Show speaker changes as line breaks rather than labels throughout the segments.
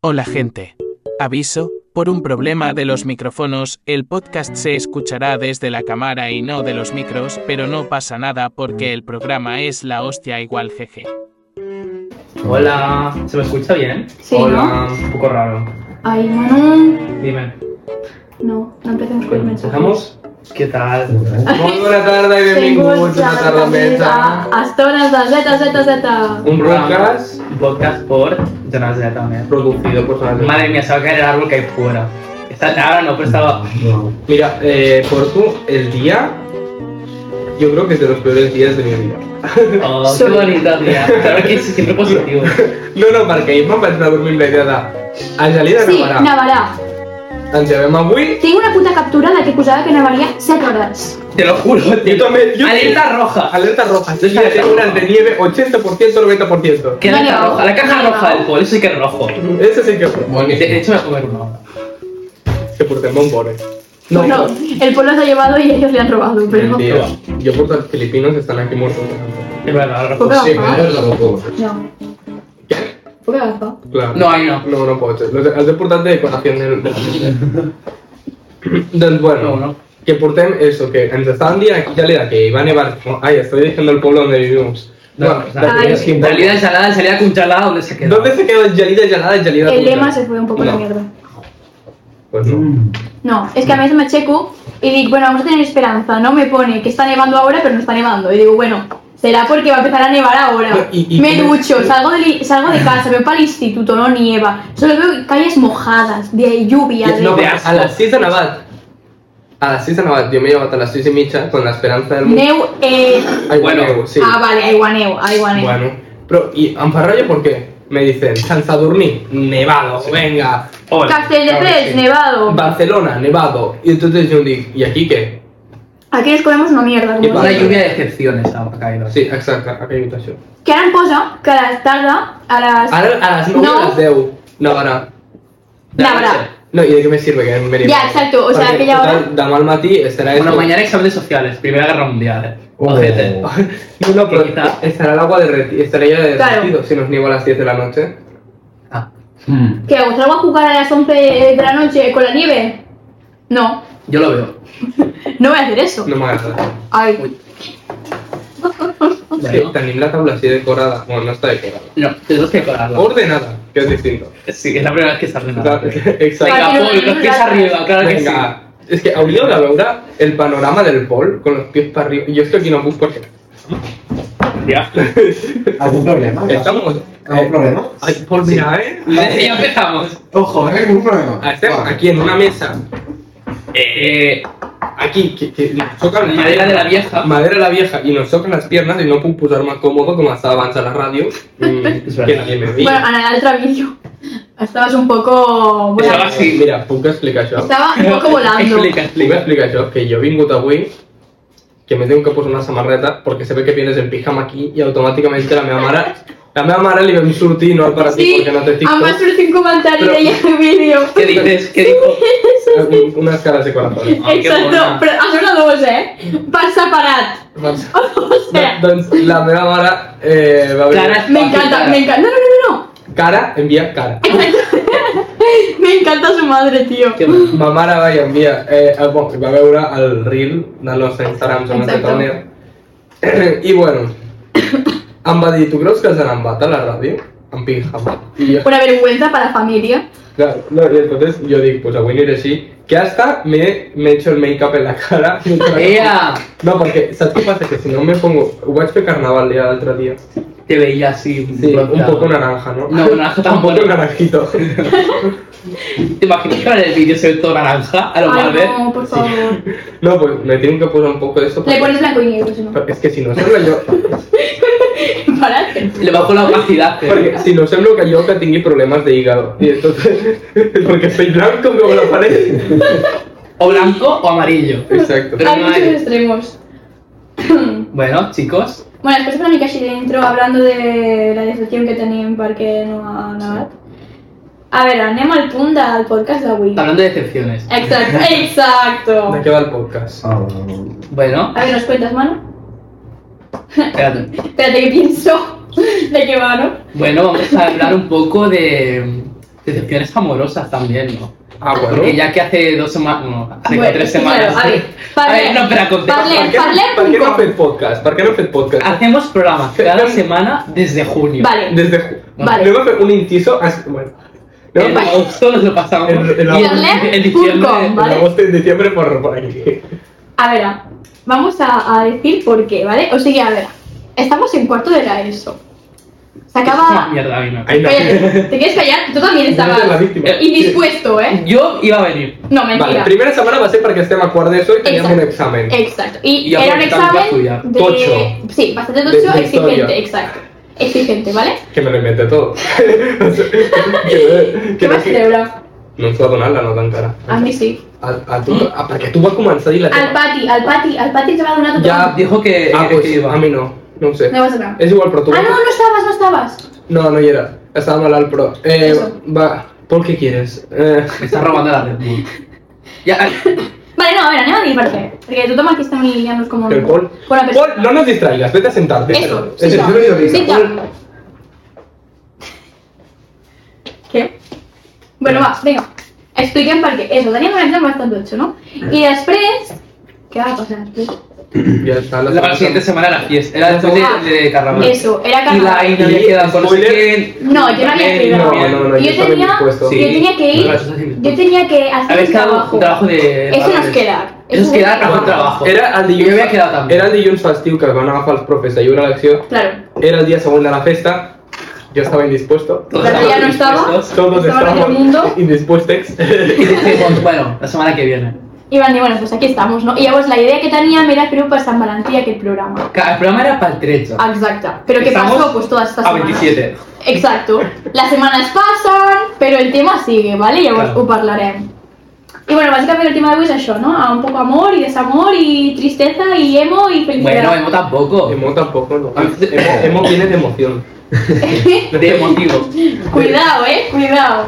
Hola gente. Aviso, por un problema de los micrófonos, el podcast se escuchará desde la cámara y no de los micros, pero no pasa nada porque el programa es la hostia igual jeje.
Hola, ¿se me escucha bien?
Sí,
Hola, un poco raro.
Ay, Manu.
Dime,
No, no empecemos con el mensaje.
¿empezamos? ¿Qué tal? Molt bona tarda i benvinguts a una tarda més a...
A estones de Z, Z, Z.
Un
Podcast.
podcast, un podcast por Jonás también.
producido por Sara
Madre mía, se va a caer el árbol que hay fuera. Está, ahora no, pero estaba...
Mira, eh, Portu, el día. Yo creo que es de los peores días de mi vida.
Oh, qué
Soy-
bonito, tía. Claro que sí, siempre positivo.
No, no, perquè ahir me'n vaig anar a dormir amb la idea de... A Jalí de
Sí,
Navarà.
nevarà.
Ens llevem avui.
Tinc una puta captura de que posava que nevaria 7 hores.
Te lo juro, tío.
Yo también, yo-
Alerta roja.
Alerta roja. Yo
Alerta
tengo unas
roja.
de nieve 80%, 90%.
¿Qué alerta
Vale,
roja? La caja
vale,
roja
vale.
del polo, eso sí que es rojo.
Ese sí que es rojo.
De, de hecho, me voy a comer uno ahora.
Que portem bon vore.
No, el pueblo se ha llevado y ellos le han robado, pero...
Mentira. Yo por los filipinos están aquí muertos.
Es verdad, rojo.
Puc
Sí, però
agafar?
és la Coco.
No. Puc agafar?
Claro.
No, ahí no.
No, no pot ser. Els els he portat de decoració del... doncs, bueno,
No, no.
que portem eso, que ens estaven dient aquí ja l'era que va a nevar... Ay, estoy diciendo el pueblo donde vivimos.
No,
Bueno,
nada.
Ay.
Salida gelada, salida congelada, ¿dónde se queda?
¿Dónde se quedó el Yalida Yalada Yalida?
El
Yalida?
lema Mm. se fue un poco a la
No.
mierda.
Pues no.
No, es que a veces me checo y digo, bueno, vamos a tener esperanza, ¿no? Me pone que está nevando ahora, pero no está nevando. Y digo, bueno, será porque va a empezar a nevar ahora.
Y- y-
me
y-
ducho, salgo de, li- salgo de casa, me voy para el instituto, no nieva. Solo veo calles mojadas, de lluvia, de...
No,
de
a- a
asco.
las 6 de Navat. A las 6 de Navat. Yo me he llevado a las 6 y mitja con la esperanza del mundo.
Neu, eh...
Ay,
Bueno.
bueno, sí.
Ah, vale, aiguaneu, aiguaneu.
Bueno, pero ¿y Amparrallo por qué? Me dicen, San Sadurní, nevado, venga.
Castelldefels,
sí.
nevado.
Barcelona, nevado. Y entonces yo digo, ¿y aquí qué?
Aquí les comemos una mierda.
Qué
Una
Como
pasa?
dic.
lluvia de excepciones a Cairo.
Sí, exacte, aquella habitació.
que ara em posa que a la tarda, a les...
Ara a les 9
No.
no. a les 10. No, ara.
Nevarà.
No, ¿y de qué me sirve que me
Ya, exacto, o sea,
Perquè,
aquella
total,
hora-
Demà al matí estarà...
Bueno,
esto.
mañana exámenes sociales, Primera Guerra Mundial, eh.
Oh.
Ojete.
No, no, pero
Quizá.
estará el agua derretida, estará ya
Claro.
derretido si nos nieva a las 10 de la noche.
Ah,
¿Qué hago? ¿Salgo a jugar a las 11 de la noche con la nieve? No,
yo lo veo.
no voy a hacer eso.
No m'agrada.
Ay,
Es
Bueno.
que tenim la taula así decorada. Bueno, no está decorada.
No, tenemos que decorarlo.
Ordenada, que es distinto.
Sí, es la primera vez que se hace nada.
Claro, Exacto.
Venga,
Vale,
Paul, los pies
venga.
arriba, Ah, claro que sí.
Venga, es que hauríeu de veure el panorama del pol con los pies para arriba. Yo es que aquí no puc perquè...
Ya.
¿Algún problema?
Estamos... eh,
¿Algún problema?
Ay, Pol, mira, eh?
Ya empezamos.
Ojo, ¿eh? ¿Algún problema?
Estem aquí en una mesa,
Ah,
Eh,
aquí, que, que nos toca la
madera de la vieja.
Madera la vieja y nos tocan las piernas y no puedo posar más cómodo como estaba abans a la radio.
Es
Mm,
verdad.
que nadie me
bueno,
veía.
Ana, el travillo. Estabas un poco...
Bueno,
volando.
Estaba así.
Mira, puc explicar això?
Estaba un poco volando.
Explica,
Puc
explica.
explicar això? Que jo he vingut avui, que me tengo que posar una samarreta perquè se ve que vienes en pijama aquí i automàticament la meva mare... La meva mare li vam sortir, no el para ti,
Sí,
perquè no té
han
TikTok,
puesto un comentario
Pero-
de ella en el vídeo.
¿Qué dices? ¿Qué dijo?
eh, un- unes cares de corazón.
Ay, qué
Exacto,
buena.
pero has una dos, ¿eh? Para separar.
Doncs,
O sea,
doncs la meva mare eh, va
Cara.
venir...
me encanta, me encanta. No, no, no, no.
Cara, envia cara.
no. Me encanta su madre, tío.
Qué bueno.
Ma mare va i envia, eh, el, bon, va veure el reel del nostre Instagram, Joan
Exacte.
Catalunya, i bueno, em va dir, tu creus que has d'anar amb bata a la ràdio? En pijama. I jo,
Una vergüenza para la familia.
clar, no, i entonces jo dic, pues avui aniré així, que hasta me, me echo el make-up en la cara. Em
Ea,
No, perquè saps què passa? Que si no me pongo... Ho vaig fer carnaval ja l'altre dia.
te veía así.
Sí, un
bronceado.
poco naranja, ¿no?
No, naranja
Un poco
tampoco.
naranjito.
¿Te imaginas que ahora el vídeo se ve todo naranja? A lo ¿eh?
Ay,
Marvel.
no, por favor.
No, pues me tienen que poner un poco de esto.
Le
porque-
pones blanco y negro, si no.
Es que si no sembla jo...
Parate.
Le bajó la opacidad. pero-
Porque si no semblo que yo que tingui problemas de hígado. Y entonces, porque soy blanco como la pared.
O blanco o amarillo.
Exacto.
Pero
Hay
no
muchos
hay.
extremos.
Bueno, chicos.
Bueno, después de una mica així dentro, hablando de la decepción que tenim perquè no ha nevat. A veure, anem al punt del podcast d'avui.
Hablando de excepciones.
Exacto, exacto.
¿De qué va el podcast?
Ah,
Bueno,
A ver, ¿nos cuentas, mano?
espérate.
Espérate que pienso de qué va, ¿no?
Bueno, vamos a hablar un poco de Decepciones amorosas también, ¿no?
Ah, bueno.
Porque ya que hace dos semanas, no, hace
Bueno,
tres
sí,
semanas.
claro, a
A
ver,
ver,
parlem,
no, espera, contexto.
parlem.
¿Para qué,
parlem
para qué no
poco.
hacer podcast? ¿Para qué no hacer podcast?
Hacemos programas cada semana desde junio.
Vale.
Desde ju-
Vale. Eh,
Luego hacer un inciso. as- Bueno. pues, Luego
En
Vale.
agosto nos lo pasamos.
En- en
y
Parlem
en
punto com,
diciembre.
vale.
hablamos en diciembre por, por aquí.
A ver, vamos a, a decir por qué, ¿vale? O sea, a ver, estamos en cuarto de la ESO. Se
Una
acaba...
mierda, vino.
Ahí no.
Cállate, ¿te quieres callar? Tú también
Yo soy la
estabas
víctima.
indispuesto, ¿eh?
Yo iba a venir.
No,
Vale,
mentira. Eh.
primera semana va a ser para que esté acuerdo de eso y teníamos un examen.
Exacto. Y,
Y
era un
aparte también va a
examen
estudiar.
de...
Tocho.
Sí, bastante
De- de
tocho, exigente,
historia.
exacto. Exigente, ¿vale?
Que me lo inventé todo. que,
¿Qué vas a
que,
celebrar?
no ens va donar la nota encara.
A mi sí.
A, a tu, a, perquè tu vas començar a dir la
Al pati, al pati, al pati te va a donar tu
Ya.
Dijo que,
Ah,
que
pues
iba.
a mi no, no ho sé.
No vas a donar.
És igual, però tu...
Ah, no, no estabas, no estabas.
no, no hi era. Estava malalt, però... Eh,
Eso.
va, Pol, què quieres? Eh,
Me está robando la Red Bull. Ya,
Vale, no, a ver, anem a dir per què. Perquè tothom aquí estem liant-nos com un...
el Pol...
Con la
Pol,
persona.
no nos distraigas, vete a sentarte.
Eso,
Es
sí,
el-
ya.
yo digo,
Sí,
Pol,
ya. ¿Qué? Bueno, va, vinga. Expliquem per què. Eso, teníem un examen bastant dotxo, no? I després... Què va passar?
Ya está,
la, la siguiente semana era la fiesta. Era después de, de Carnaval.
Eso, era
Y la
carnaval.
Aina había quedado con no sé
Spoiler.
quién.
No, yo no había
Eh,
quedado.
bien.
No, no, no. yo
yo,
estaba
tenía,
indispuesto.
yo
Sí.
tenía que ir,
No, eso es indispuesto.
yo tenía que hacer
Habéis
un
quedado
trabajo.
un trabajo de.
Eso nos
valores.
queda.
Eso es
nos
quedar
queda.
a un trabajo.
Era el dilluns,
Jo havia quedat amb-
era el dilluns festiu que van agafar els profes a lliure elecció,
Claro.
era el dia següent de la festa, jo estava indispuesto,
Todos
Pero ya no
dispuestos.
todos
Estaba en
estábamos
el mundo.
indispuestos.
Y decimos, bueno, la semana que viene.
Y van, y bueno, pues aquí estamos, ¿no? Y pues la idea que tenía era hacer para San Valentín aquel programa.
Ca- El programa era para el 13.
Exacta. Pero ¿qué
Estamos
pasó? Pues todas estas
A
semanas.
27.
Exacto. Las semanas pasan, pero el tema sigue, ¿vale? I Llavors
Claro.
ho parlarem. I bueno, bàsicament el tema d'avui és això, no? Un poc amor i desamor i tristeza i emo i felicitat.
Bueno, emo tampoco.
Emo tampoco, no.
Ah, sí.
Emo, emo viene de emoción.
De emotivo.
Cuidado, eh, cuidado.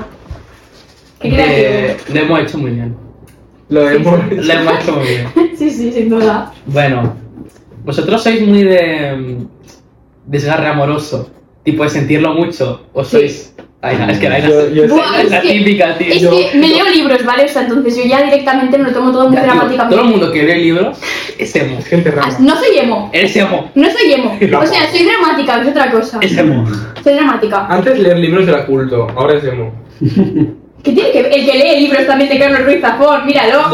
¿Qué
De,
crees?
lo hemos hecho muy bien.
Lo de emo.
Lo hemos hecho muy bien.
Sí, sí, sin duda.
Bueno, vosotros sois muy de mm, desgarre amoroso, tipo de sentirlo mucho, o
Sí.
sois... Ay, no, es que la,
Yo- yo-
Buah,
es la
es que-
típica, tío.
es
Yo-
que me leo libros, ¿vale? O sea, entonces yo ya directamente me lo tomo todo muy
Ya, tío,
dramáticamente.
todo el mundo que lee libros es emo.
Es gente
Ah,
rara.
No soy emo.
Eres emo.
No soy emo. O sea, soy dramática, es otra cosa.
Es emo.
Soy dramática.
Antes leer libros era culto, ahora es emo.
¿Qué tiene que ver? El que lee libros también de Carlos Ruiz Zafón, míralo. o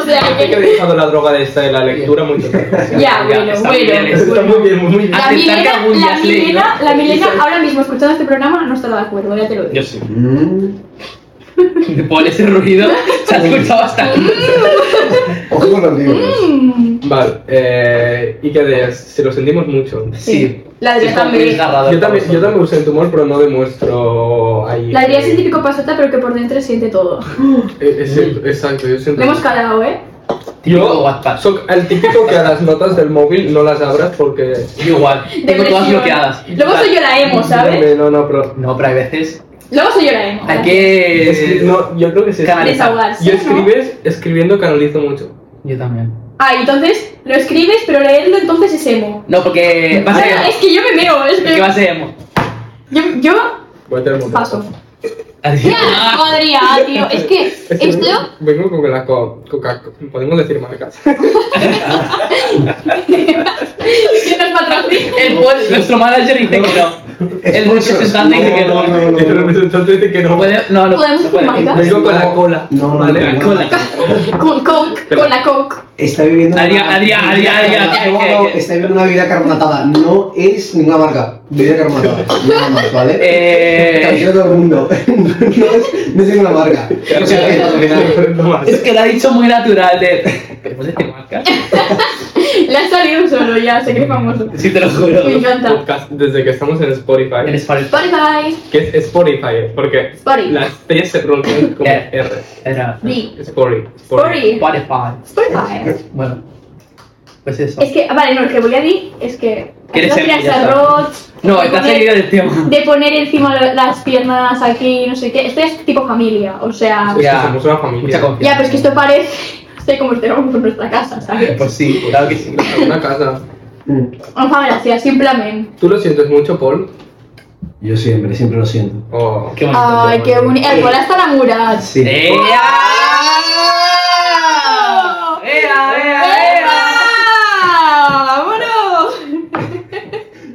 sea,
Hay que he
que...
dejado la droga de esta de la lectura mucho tiempo.
Ya,
Ya,
Ah. bueno,
está muy bien,
bueno.
Está muy bien, muy bien.
La
Aceptar que
Milena,
algún día
la
has leído.
Milena, la Milena ahora mismo escuchando este programa no estará de acuerdo, ya te lo digo.
Yo sí.
Mm.
Por ese ruido se ha escuchado hasta...
Ojo con los libros.
Mm.
Vale, eh, y que deies, si lo sentimos mucho.
Sí.
La de
Sí, es como
también.
muy desgarrador
Yo también,
para
yo también
vosotros.
usé tumor, pero no demuestro ahí.
La idea es el típico pasota, pero que por dentro siente todo.
Eh, es el- exacto, yo siento.
Le hemos calado, ¿eh?
Típico
Yo
Wattpad.
soy el típico que a las notas del móvil no las abras porque.
Yo igual. Tengo todas
Depresión.
bloqueadas.
Luego soy yo la emo, ¿sabes?
No, no, pero.
No, pero hay veces...
Luego soy yo la emo.
Hay que...
Es que- no, yo creo que sí.
Canal-
Desahogarse.
Yo
¿no?
escribes, escribiendo canalizo mucho.
Yo también.
Ah, entonces lo escribes, pero leerlo entonces es emo.
No, porque va a ser
Claro, es
emo.
que yo me meo, es
Porque
que.
va a ser emo.
Yo, yo
Voy a tener mucho.
paso.
Así-
Ya, podría, tío. Es que
Es que
esto.
Vengo con la co- coca. Podemos decir marcas.
Que nos patrocina.
El bot- nuestro manager dice que no. El representante dice que no.
No, no, no.
El representante dice que no.
Puede- No, no.
¿Podemos
no puede.
fumar?
Vengo con la cola.
No, no,
vale.
no.
Cola.
Con Coke, con la Coke.
Está viviendo.
Adrián,
una-
Adrián,
una vida
Adrián,
carbonatada.
Adrián,
No, no,
que- que-
Está viviendo una vida carbonatada. No es ninguna marca. Vida carbonatada. Nada más, ¿vale?
Eh,
Tranquilo todo el mundo. No es, no es ninguna marca. O sea, que- que nada.
No más.
es que lo ha dicho muy natural de. ¿Puedes decir marca?
Le ha salido un solo ya, se cree famoso.
Sí, te lo juro.
Me encanta.
Podcast desde que estamos en Spotify.
Eres fan.
Spotify.
Que es Spotify, porque
Spotify.
las T se pronuncian como
Eh.
R.
Era.
Di.
Spotify.
Spotify.
Spotify.
Spotify.
Bueno. Pues eso.
Es que, vale, no, lo que voy a decir es que.
Que eres
no
emo, ya
tiras
está.
arroz,
No,
de
te has
poner-
seguido del tema.
De poner encima las piernas aquí, no sé qué. Esto es tipo familia, o sea.
Es que
Ya.
somos una familia.
Mucha confianza.
Ya, pero es que esto parece. Estoy como estuviéramos por nuestra casa, ¿sabes?
Pues sí, claro que sí.
Una casa.
Mm.
Vamos a ver, así, simplemente.
¿Tú lo sientes mucho, Paul?
Yo siempre, siempre lo siento.
Oh.
Qué bonito.
Ay, qué bonito. El bola está enamorado.
Sí.
Eh. ¡Ea! ¡Ea, ea, ea!
¡Epa! ¡Vámonos!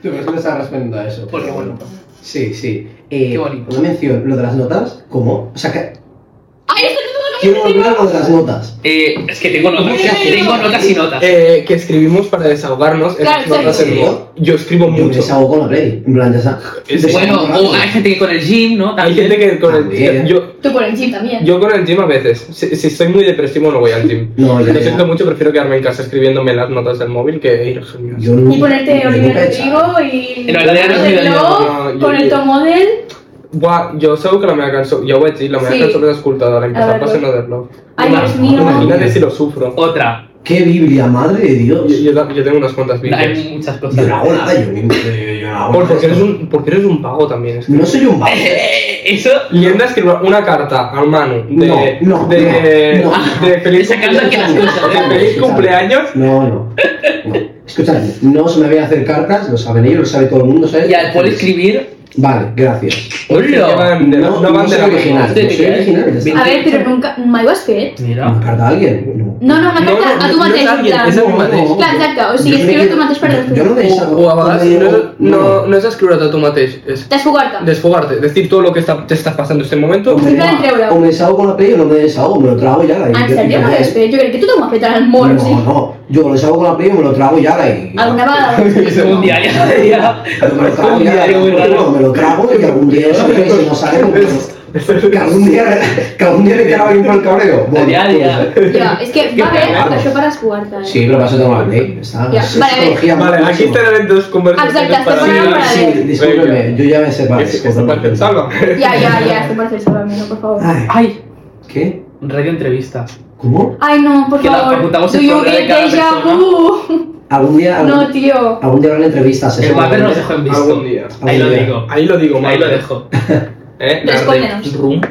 Tu persona está respondiendo a eso.
Porque bueno.
Sí, sí. Eh,
Qué bonito.
Una mención, lo de las notas, ¿cómo? O sea, que
¡Ay, esto no es
quiero
lo que
volver a
tengo!
lo de las notas.
Eh, es que tengo notas,
¿Qué haces?
tengo notas y notas.
Eh, que escribimos para desahogarnos en
Claro,
las notas
claro.
en voz. Yo escribo
Yo me
mucho.
desahogo con la play. En plan, ya está.
Es-
bueno,
Desahogo rápido.
o hay gente que con el gym, ¿no?
Hay gente que con el
También.
yo,
Tú con el chip también.
yo con el gym a veces. Si, si soy muy depresivo no voy al gym.
No, ya,
Lo
ya.
siento mucho, prefiero quedarme en casa escribiéndome las notas del móvil que ir al gimnasio.
Yo no-
Y ponerte
yo nunca he
Olivia
echado.
Rodrigo y.
En realidad no es mi
Rodrigo,
idea, no,
Con
yo-
el top model.
Buah, jo segur que la meva cançó, ja ho vaig dir, la meva
Sí.
cançó més escoltada l'any
A
passat va
veure.
ser Another Love.
Ay,
Una-
Dios mío.
una-
Imagínate si lo sufro.
Oh,
Otra.
¡Qué Biblia, madre de
Yo,
Dios!
yo, yo tengo unas cuantas
Hay
vídeos.
muchas
Yo no
cosas.
hago nada, yo ni- yo- yo no hago
Por,
nada.
porque, eres un, porque eres un vago también. Es que...
No soy un vago.
Eh, Eso.
Li hem d'escriure una carta al Manu de,
No, no, Ah,
de,
no, no.
de feliz
Esa carta que las
cumpleaños,
cosas,
de
¿eh?
feliz cumpleaños
No, no. no. Escúchame, no se me voy a hacer cartas, lo saben ellos, lo sabe todo el mundo, ¿sabes?
Y al
Pues,
poder escribir.
Vale, gracias.
que
¡Hola!
van de la, no, van de
soy
la
original,
mano.
no soy original. ya está.
A ver, pero nunca. My basket.
¿Una
Mira.
carta a alguien? No.
No, no, una
No,
carta
no,
a tu
no, no
mateix.
és
en
alguien,
plan.
és a tu mateix.
Clar, exacte, o sigui,
Yo
escriure
creo
tu
que-
mateix per
Yo no
O,
desahogo.
o a vegades no, és- no,
No.
no és escriure't a tu mateix, és
Desfogar-te.
desfogarte, decir todo lo que está, te estás pasando en este momento.
O me,
Siempre entre euros.
o me desahogo con la play o no me desahogo, me lo trago y haga. y-
Ah, En Pues, eh,
y-
sèrio,
y-
m'ho has fet? Jo crec que tothom ho ha fet en el món, o
No,
sigui.
no, yo lo desahogo con la play y me lo trago y haga. Y...
Alguna vegada.
Es un diario. ya.
Pero me lo trago y haga.
Es muy raro.
No, me lo trago y algún día eso que se nos sale como... Que algún día, que algún día le queda bien por el cabreo.
A diario.
pues,
Ja, és que va bé
raro.
això per esfogar-te. eh?
Sí, pero vas a tomar la play. Está,
Ya,
es
vale,
psicología
Vale,
máxima.
aquí tenemos dos conversaciones
Exacto, hasta
Sí,
Bueno, para
sí,
ver.
discúlpeme, yo ya me separé.
Es- Esto
discúlpeme.
parece salva.
Ya, ya, ya, esto parece el solamente, por favor.
Ay,
Ah,
¡Ay!
¿Qué?
Radio entrevista.
¿Cómo?
Ay, no, por
Que la
favor.
preguntamos el
Do you
programa de
get
cada
déjà
persona.
vu?
Algún día... Algún,
No, tío.
algún día habrán entrevistas.
El
eso
Wapper
no-
nos dejó en visto.
Algún día.
Ahí lo
Algún día.
digo.
Ahí lo digo,
Ahí lo
Marta.
dejo.
Eh,
Respóndenos.
Rum.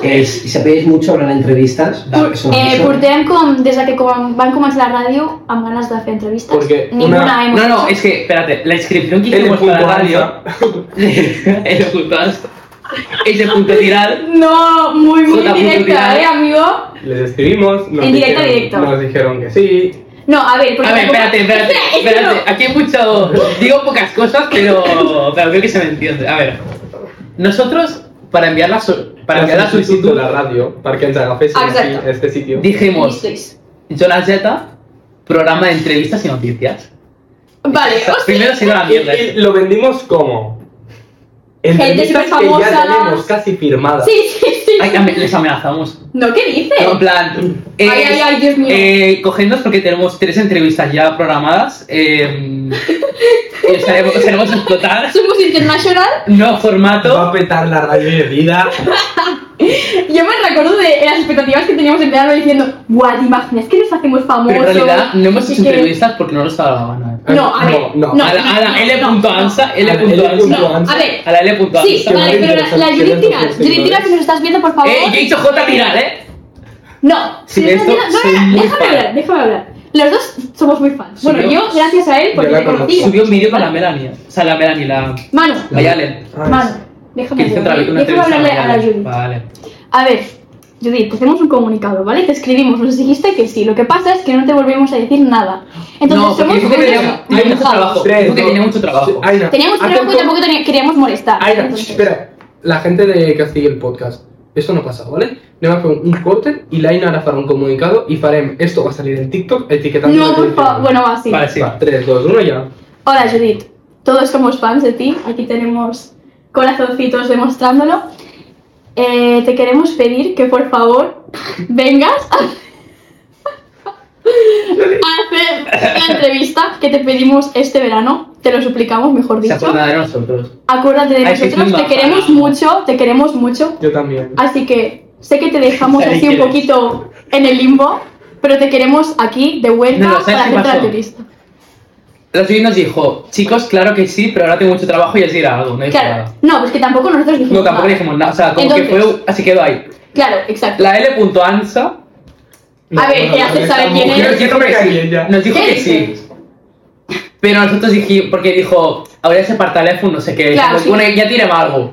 Eh, si si sabéis mucho, habrán entrevistas.
Por-
Eso no
eh,
sé.
portem com, des de que com van començar la ràdio, amb ganes de fer entrevistes.
Porque
Ninguna eh,
una-
hemos
No, no,
hecho.
es que, espérate, la inscripción que
El
hicimos
punto
para radio.
alfa.
el punto alfa. Ese punto tirar.
No, muy, muy
Una
directa,
publicidad.
eh, amigo.
Les escribimos. Nos
En directo,
dijeron,
directo.
Nos dijeron que sí.
No, a ver, porque...
A ver,
tampoco-
espérate, espérate,
Espera, es que no.
espérate. Aquí hay mucho. Digo pocas cosas, pero, pero creo que se me entiende. A ver, nosotros, para enviar la, so- para enviar la
de
solicitud,
la radio, para que ens agafessin
Exacto.
aquí, este sitio.
dijimos:
Listois.
Jonas Jetta, programa de entrevistas y noticias.
Vale, hostia.
Primero se iba a la
Y,
mierda.
y lo vendimos como.
Gente
Entrevistas que
superfamosa.
ya tenemos casi firmadas.
Sí, sí, sí.
Ay, ame- les amenazamos.
No, ¿qué dices?
No, en plan.
Ay, ay, ay, Dios mío.
eh, cogednos porque tenemos tres entrevistas ya programadas. Eh, y os haremos, os haremos explotar.
Somos international.
Nuevo
Va a
formato.
petar la radio de vida.
Yo me recuerdo de las expectativas que teníamos en verano diciendo, guau, ¿te imaginas que nos hacemos famosos?
Pero en realidad no hemos
Y
hecho
que-
entrevistas porque no nos daba la gana.
No, a ver,
No, no.
no.
a la, a la L.ansa,
A la
L.ansa.
No, a ver.
A la L.ansa.
Sí,
que
vale,
muy
pero la, la
interesante,
Judith
que no
Tiras,
sé si
Judith Tiras,
lo
si nos estás viendo, por favor.
Eh, yo he dicho J viral, eh.
No,
Si
si
de
nos estás
esto
viendo-
soy
no, no,
muy
no, déjame
fan.
hablar, déjame hablar. Los dos somos muy fans. Bueno,
Subió-
yo gracias a él porque
Yo
te
la
conocí.
Sí.
Subió un vídeo para la Melania. O sea, la Melanie, la.
Manu,
La Yale.
Manu, déjame
Que hizo otra vez
hablar.
una
Déjame
entrevista.
hablarle a la
Yale.
Judith.
Ah, Vale.
A ver, Judith, te hacemos un comunicado, ¿vale? Te escribimos, nos dijiste que sí. Lo que pasa es que no te volvemos a decir nada. Entonces
no, porque
somos
dijo que
unos
tenía hay mucho
enojados.
trabajo. Dijo que
dos,
tenía mucho trabajo.
Aina,
Teníamos
haz
trabajo y
un co-
tampoco teni- queríamos molestar.
Aina,
entonces.
espera. La gente de que sigue el podcast, esto no ha pasado, ¿vale? Anem a fer un, un corte i l'Aina ara farà un comunicado i farem esto va a salir en TikTok etiquetant
No, por favor. Bueno, va, sí.
Vale, sí.
3, 2, 1, ya.
Hola Judith, todos somos fans de ti, aquí tenemos corazoncitos demostrándolo. Eh, te queremos pedir que por favor vengas a, a hacer la entrevista que te pedimos este verano, te lo suplicamos mejor
Se
dicho.
acuerda de nosotros.
Acuérdate de
Ay, sí,
nosotros,
sí,
te
no.
queremos mucho, te queremos mucho,
Yo también.
así que sé que te dejamos
Ahí
así un
quieres.
poquito en el limbo, pero te queremos aquí de vuelta
No, ¿sabes
para
qué
hacer la
pasó?
entrevista.
La Judith nos dijo, chicos, claro que sí, pero ahora tengo mucho trabajo y así era algo. No dijo
Claro,
nada.
no, pues que tampoco nosotros dijimos
No, tampoco
nada.
dijimos nada. O sea, como que
Entonces-
fue. Así quedó ahí.
Claro, exacto.
La L.ansa.
A ver, ya se sabe quién
mujer
es.
Eh,
ya no me cae bien ya.
Nos dijo
¿Qué
que
dices?
sí. Pero nosotros dijimos, porque dijo, ahora se para teléfono, no sé qué.
Claro,
dijimos,
sí.
Bueno, ya tirem algo.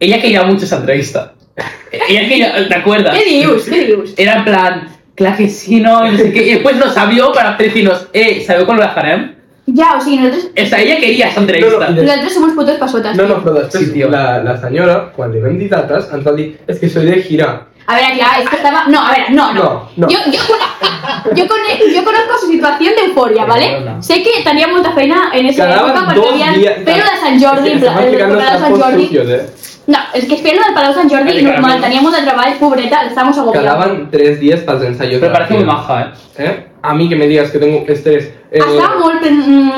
Ella quería mucho esa entrevista. Ella quería, ¿te acuerdas?
¿Qué dius? ¿Qué dius?
Eh,
Era en plan, claro que sí, no, y no sé qué. Y después nos abrió para decirnos, eh, ¿sabeu con la farem?
Ya, o sigui, nosaltres,
O sea, ella quería esa entrevista.
No, no,
nosaltres som uns putos passotes.
eh, No,
tio.
no, però després
Sí, tio.
la, la senyora, quan li vam dir dates, ens va dir és que soy de girar.
A ver, claro, es que estaba... No, a ver, no, no.
No, no.
Yo, yo, con- yo, con- yo conozco su situación de euforia, ¿vale?
Perdona.
Sé que tenía mucha feina en esa
Quedaven
época porque
dos
habían
dies...
pelo de Sant Jordi, en
Es que
pla-
estaven
el
ficant
Palau
els
de Sant
trapos
Jordi.
sucios, eh?
No, es que es pelo del Palau Sant Jordi
Vale,
y normal,
claramente.
teníamos de trabajar, pobreta, estábamos agobiados.
Quedaven tres dies pels ensaios.
Pero parece muy
majo.
maja, eh.
Eh? A mi que me digas que tengo estrés... Eh,
Hasta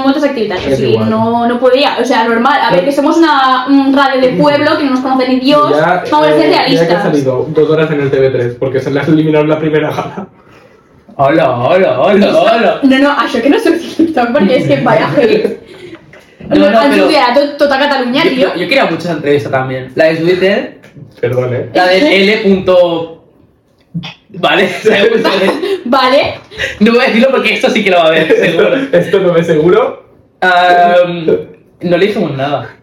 muchas actividades,
Es
y
igual.
no, no podía, o sea, normal. A ver, que somos una mm, radio de pueblo que no nos conoce ni Dios,
ya,
vamos a ser
eh, Ya que ha
realistas.
salido dos horas en el TV3, porque se le ha eliminado la primera gala.
Hola, hola, hola, hola.
No, no, això que no surti TikTok, perquè és que vaya hate.
No, no,
han
pero-
subit a tot, tota Catalunya,
Yo,
tio.
yo- yo quería mucho esa entrevista también. La de Twitter,
Perdón, eh.
la del L. punto- Vale, ¿sabes?
Vale,
no voy a decirlo porque esto sí que lo va a ver, seguro.
Esto no me seguro.
Am, no le dijimos nada.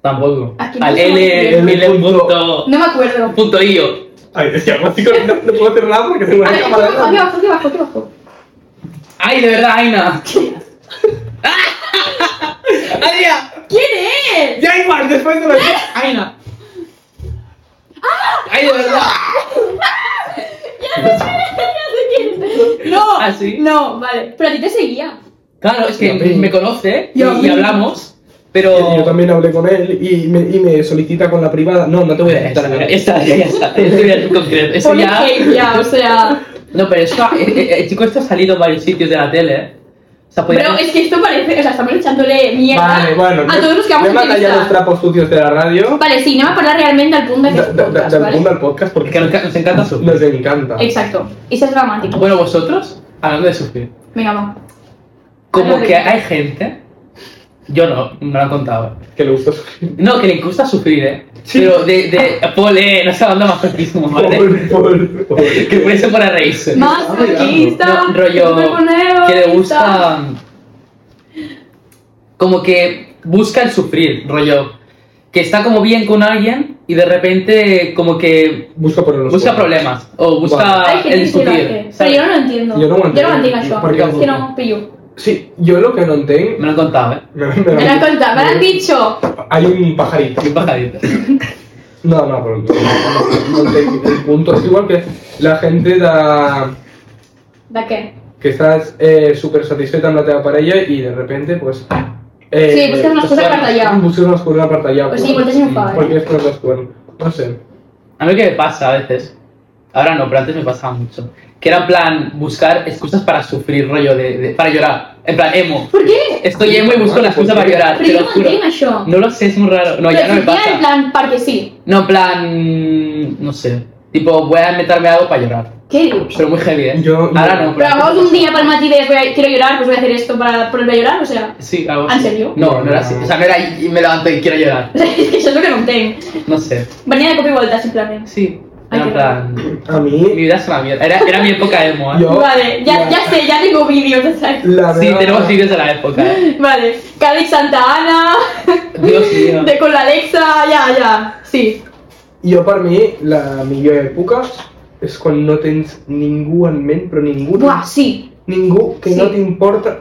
Tampoco.
Aquí no
Al
somos
L.
bien.
L. Punto,
no me acuerdo.
punto io.
Ay, es que algo así con- no, no puedo hacer nada porque tengo
A
una
ver,
cámara.
aquí abajo, aquí abajo, aquí abajo.
Ay, de verdad, Aina. Aina.
¿Quién es?
Ya igual, después de la...
Aina. Ay, de verdad.
No,
¿Ah, sí?
no, vale. Pero a ti te seguía.
Claro, es que
Yo a mí.
me conoce y,
Yo a mí.
y hablamos,
Yo
pero.
también hablé con él y me, y me solicita con la privada. No, no te voy a
Esta,
aceptar. nada.
esta, ya está. Esto ya es concreto. Eso
Pone
ya.
hate ya, o sea.
No, pero esto, eh, eh, el chico, esto ha salido en varios sitios de la tele. ¿eh? O sea, podía-
Pero es que esto parece, o sea, estamos echándole mierda
Vale, bueno.
a todos los que vamos
Me
a
mata ya los
entrevistar.
trapos sucios de la radio.
Vale, sí, no me acuerdo realmente al punto de que
Da-
es un
da- da-
podcast,
Del mundo
¿vale?
al podcast
Porque
porque
nos, nos encanta sufrir.
nos encanta.
Exacto. Y ser dramático.
Bueno, vosotros, hablando de sufrir,
Venga, va.
como
Habla
que
de-
hay gente. Yo no, no lo he contado.
Que le gustó.
No, que le gusta sufrir, ¿eh? Pero de. de Paul, eh, no está dando masoquismo, ¿vale?
Por, por, por.
que por eso para reírse.
Más conquista,
No, rollo que le gusta como que busca el sufrir, rollo que está como bien con alguien y de repente como que
Busca por los
busca
problemas.
problemas o busca
Hay gente
el
que sí lo
discutir.
hace, però jo no ho entiendo.
Jo no ho entenc.
Jo no ho entenc, això.
Per
què?
És que no ho pillo.
Sí, yo lo que no entiendo.
Me lo han contado, ¿eh?
Me,
Me l'han contat, me l'han dit això.
Hay un pajarito.
Bien bajadito.
No, no, pero no, no, no entenc el punto. Es igual que la gente da,
De què?
que estás eh, súper satisfecha en la teva parella y de repente, pues. Eh,
Sí, busques una excusa
pues,
para tallar.
Busques una excusa para tallar.
O sigui,
pues,
vosaltres no ho fa, eh?
Porque es por los cuernos. No sé.
A mí que me pasa a veces, ahora no, pero antes me pasaba mucho, que era en plan buscar excusas para sufrir, rollo de, de- para llorar, en plan emo.
Per què?
Estoy emo y busco la excusa para llorar, te lo
Però jo no ho
juro.
entenc, això.
No lo sé, es muy raro. No, ya
Però
no me
sortia
pasa.
en plan, perquè sí.
No, en plan, no sé, tipo, voy a meterme algo para llorar.
Què dius?
Pero muy heavy, ¿eh?
Yo-
Ahora
yo-
no.
Pero vamos un día para el matí de voy a- quiero llorar, pues voy a hacer esto para ponerme a llorar, o sea...
Sí, algo
¿En
así.
serio?
No, no era así. O sea, no era y me levanto y quiero llorar.
O sea, es que eso es lo que no entenc.
No sé.
Venía de cop i volta, simplement.
Sí.
Ay,
Era en
qué
plan...
A
Mi
mí.
vida es una mierda. Era, era mi época emo, ¿eh?
Yo- No,
Vale, ya,
no.
ya sé, ya tengo vídeos, o sea...
La
Sí,
meva-
tenemos vídeos de la época, ¿eh?
Vale, Cádiz Santa Ana,
Dios mío.
de con la Alexa, ya, ya, sí.
Jo, per mi, la millor època és quan no tens ningú en ment, però ningú,
Buah, sí.
ningú que
Sí.
no t'importa.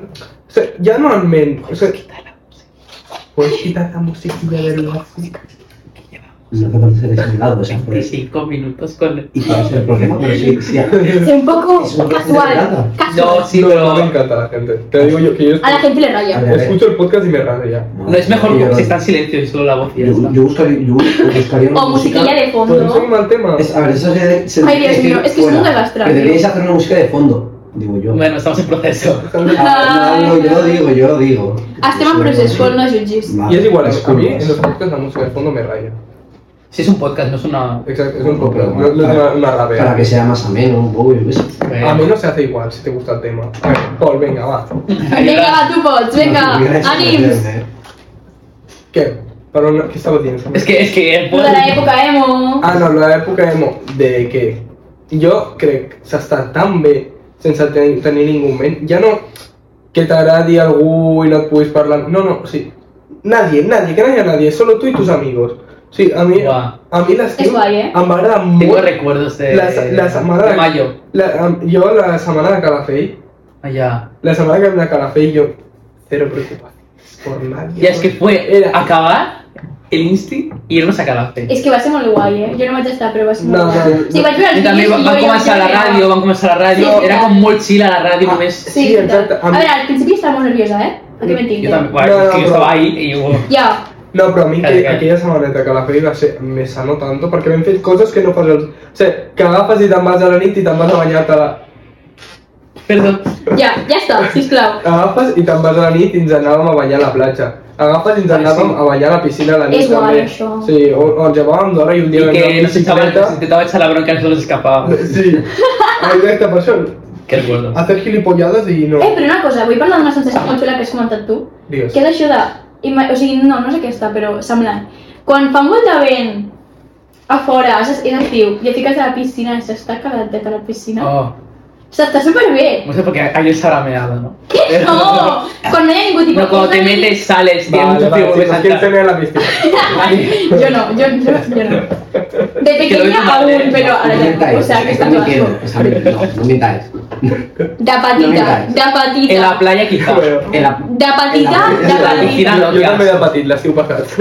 O sigui, ja no en ment. O sigui, Puedes quitar la musiquilla de la
Lo que parece desanimado, o sea, por
Pues
eso.
25 minutos con...
Y cuál es el problema, pero sí, sí.
Es un poco
Es un poco
casual,
acelerado.
casual.
No, sí,
no, no me
pero...
encanta la gente. Te digo yo que yo
A la gente le
A
raya.
ver.
escucho el podcast y me rayo ya.
No es mejor
Yo-
que si está en silencio y solo la voz y ya
Yo,
está.
yo buscaría, yo buscaría una
O
música.
musiquilla de
Podem seguir
fondo.
amb el tema?
Es- a ver, eso se, se
Ay, Dios
debería
mío,
decir
es que es un
fuera.
desastre,
Pero
tío.
deberíais hacer una música de fondo, digo yo.
Bueno, estamos en proceso.
Ah, no, yo digo, yo digo.
Estem en procés, Pol, no jutgis.
Vale, pues
Y es igual, a mí en los
disculpas.
podcasts la música de fondo me raya.
Si es un podcast, no es una...
Exacto, es
Un
un
poco,
podcast, no,
bueno,
no es una,
para-
una rabia.
Para que sea más ameno, un poco, yo qué sé.
A
Eh,
mí no se hace igual si te gusta el tema. A ver, Paul, venga, va.
Venga, va, tu pots, venga,
No, tuviera esa
ànims.
manera, ¿eh?
¿Qué? Para una- ¿Qué estaba diciendo?
Es que, es que eh, el
Lo de la
podcast...
època emo.
Ah, no, la època emo, de que jo crec que s'està tan bé sense ten tenir ningú en ment. Ja no, que t'agradi algú i no et puguis parlar. No, no, sí. Nadie, nadie, que no hi ha nadie, solo tu i tus amigos. Sí, a mi,
Guau.
a mi l'estiu
És guai, eh?
em va agradar
Tengo
molt
recuerdos de,
la, la setmana
de mayo. Ah,
La, em- jo la setmana de Calafell,
Allá.
la setmana que vam anar a Calafell jo, cero preocupacions por nadie.
Ya es que fue
Era-
acabar el insti y irnos a Calafell.
És que va ser molt guai, eh? Jo no vaig estar, però va ser molt
No,
guai.
no, no.
Sí, vaig veure els
I també van, van
jo-
començar
jo
la
mirava.
ràdio, van començar la ràdio,
Sí,
era
sí.
com molt xil a la ràdio
Ah,
només.
Sí,
Sí, exacte.
A veure, al principi estava molt nerviosa, eh? A què mentir?
Jo també,
No,
bueno,
no,
és que jo
però-
estava ahí i jo...
Ja,
No, però a mi
Calla,
que,
calla.
aquella setmaneta que la feia va ser me sano tanto perquè vam fet coses que no fas el... O sigui, que agafes i te'n vas a la nit i te'n vas a banyar-te a la...
Perdó.
ja, ja està, sisplau.
Agafes i te'n vas a la nit i ens anàvem a ballar a la platja. Agafes i ens
Ah,
anàvem
sí.
a ballar a la piscina a la nit
És guai,
també.
això.
Sí, o, o ens llevàvem d'hora i un
I
dia vam
que
anar amb
no s'estava,
bicicleta.
intentava echar la bronca i no les escapava.
Sí, Ah, exacte, per això.
Que recuerdo.
Hacer gilipollades i no...
Eh, però una cosa, vull parlar d'una sensació molt xula que has comentat tu.
Digues.
Què és això de... ima- O sigui, no, no és aquesta, però semblant. Quan fa molt de vent a fora, és, és estiu, i et fiques a la piscina, i s'està caladet a la piscina.
Oh,
O sigui, està superbé.
no sé por qué ayer se habrá meado, ¿no?
No! Quan no hi ha ningú tipus...
No, cuando te
una
metes, sales, tienes
Vale,
mucho
vale,
frío,
si
vuelves a
nos quieren
entrar.
tener a la piscina.
Ay,
Yo no, yo, yo, yo no. De
Que lo eh. ve tu
pequeña
madre.
aún, pero ahora
No
ya, o
mintáis,
sea, que está
no
más.
mintiendo, está mintiendo, no, no mintáis.
Da
No
patita,
mintáis.
da
En la
patita.
playa quizá.
Bueno.
En la-
Da patita,
en la-
da
en la
patita.
piscina.
Jo, jo
que
també he
asco.
patit l'estiu passat.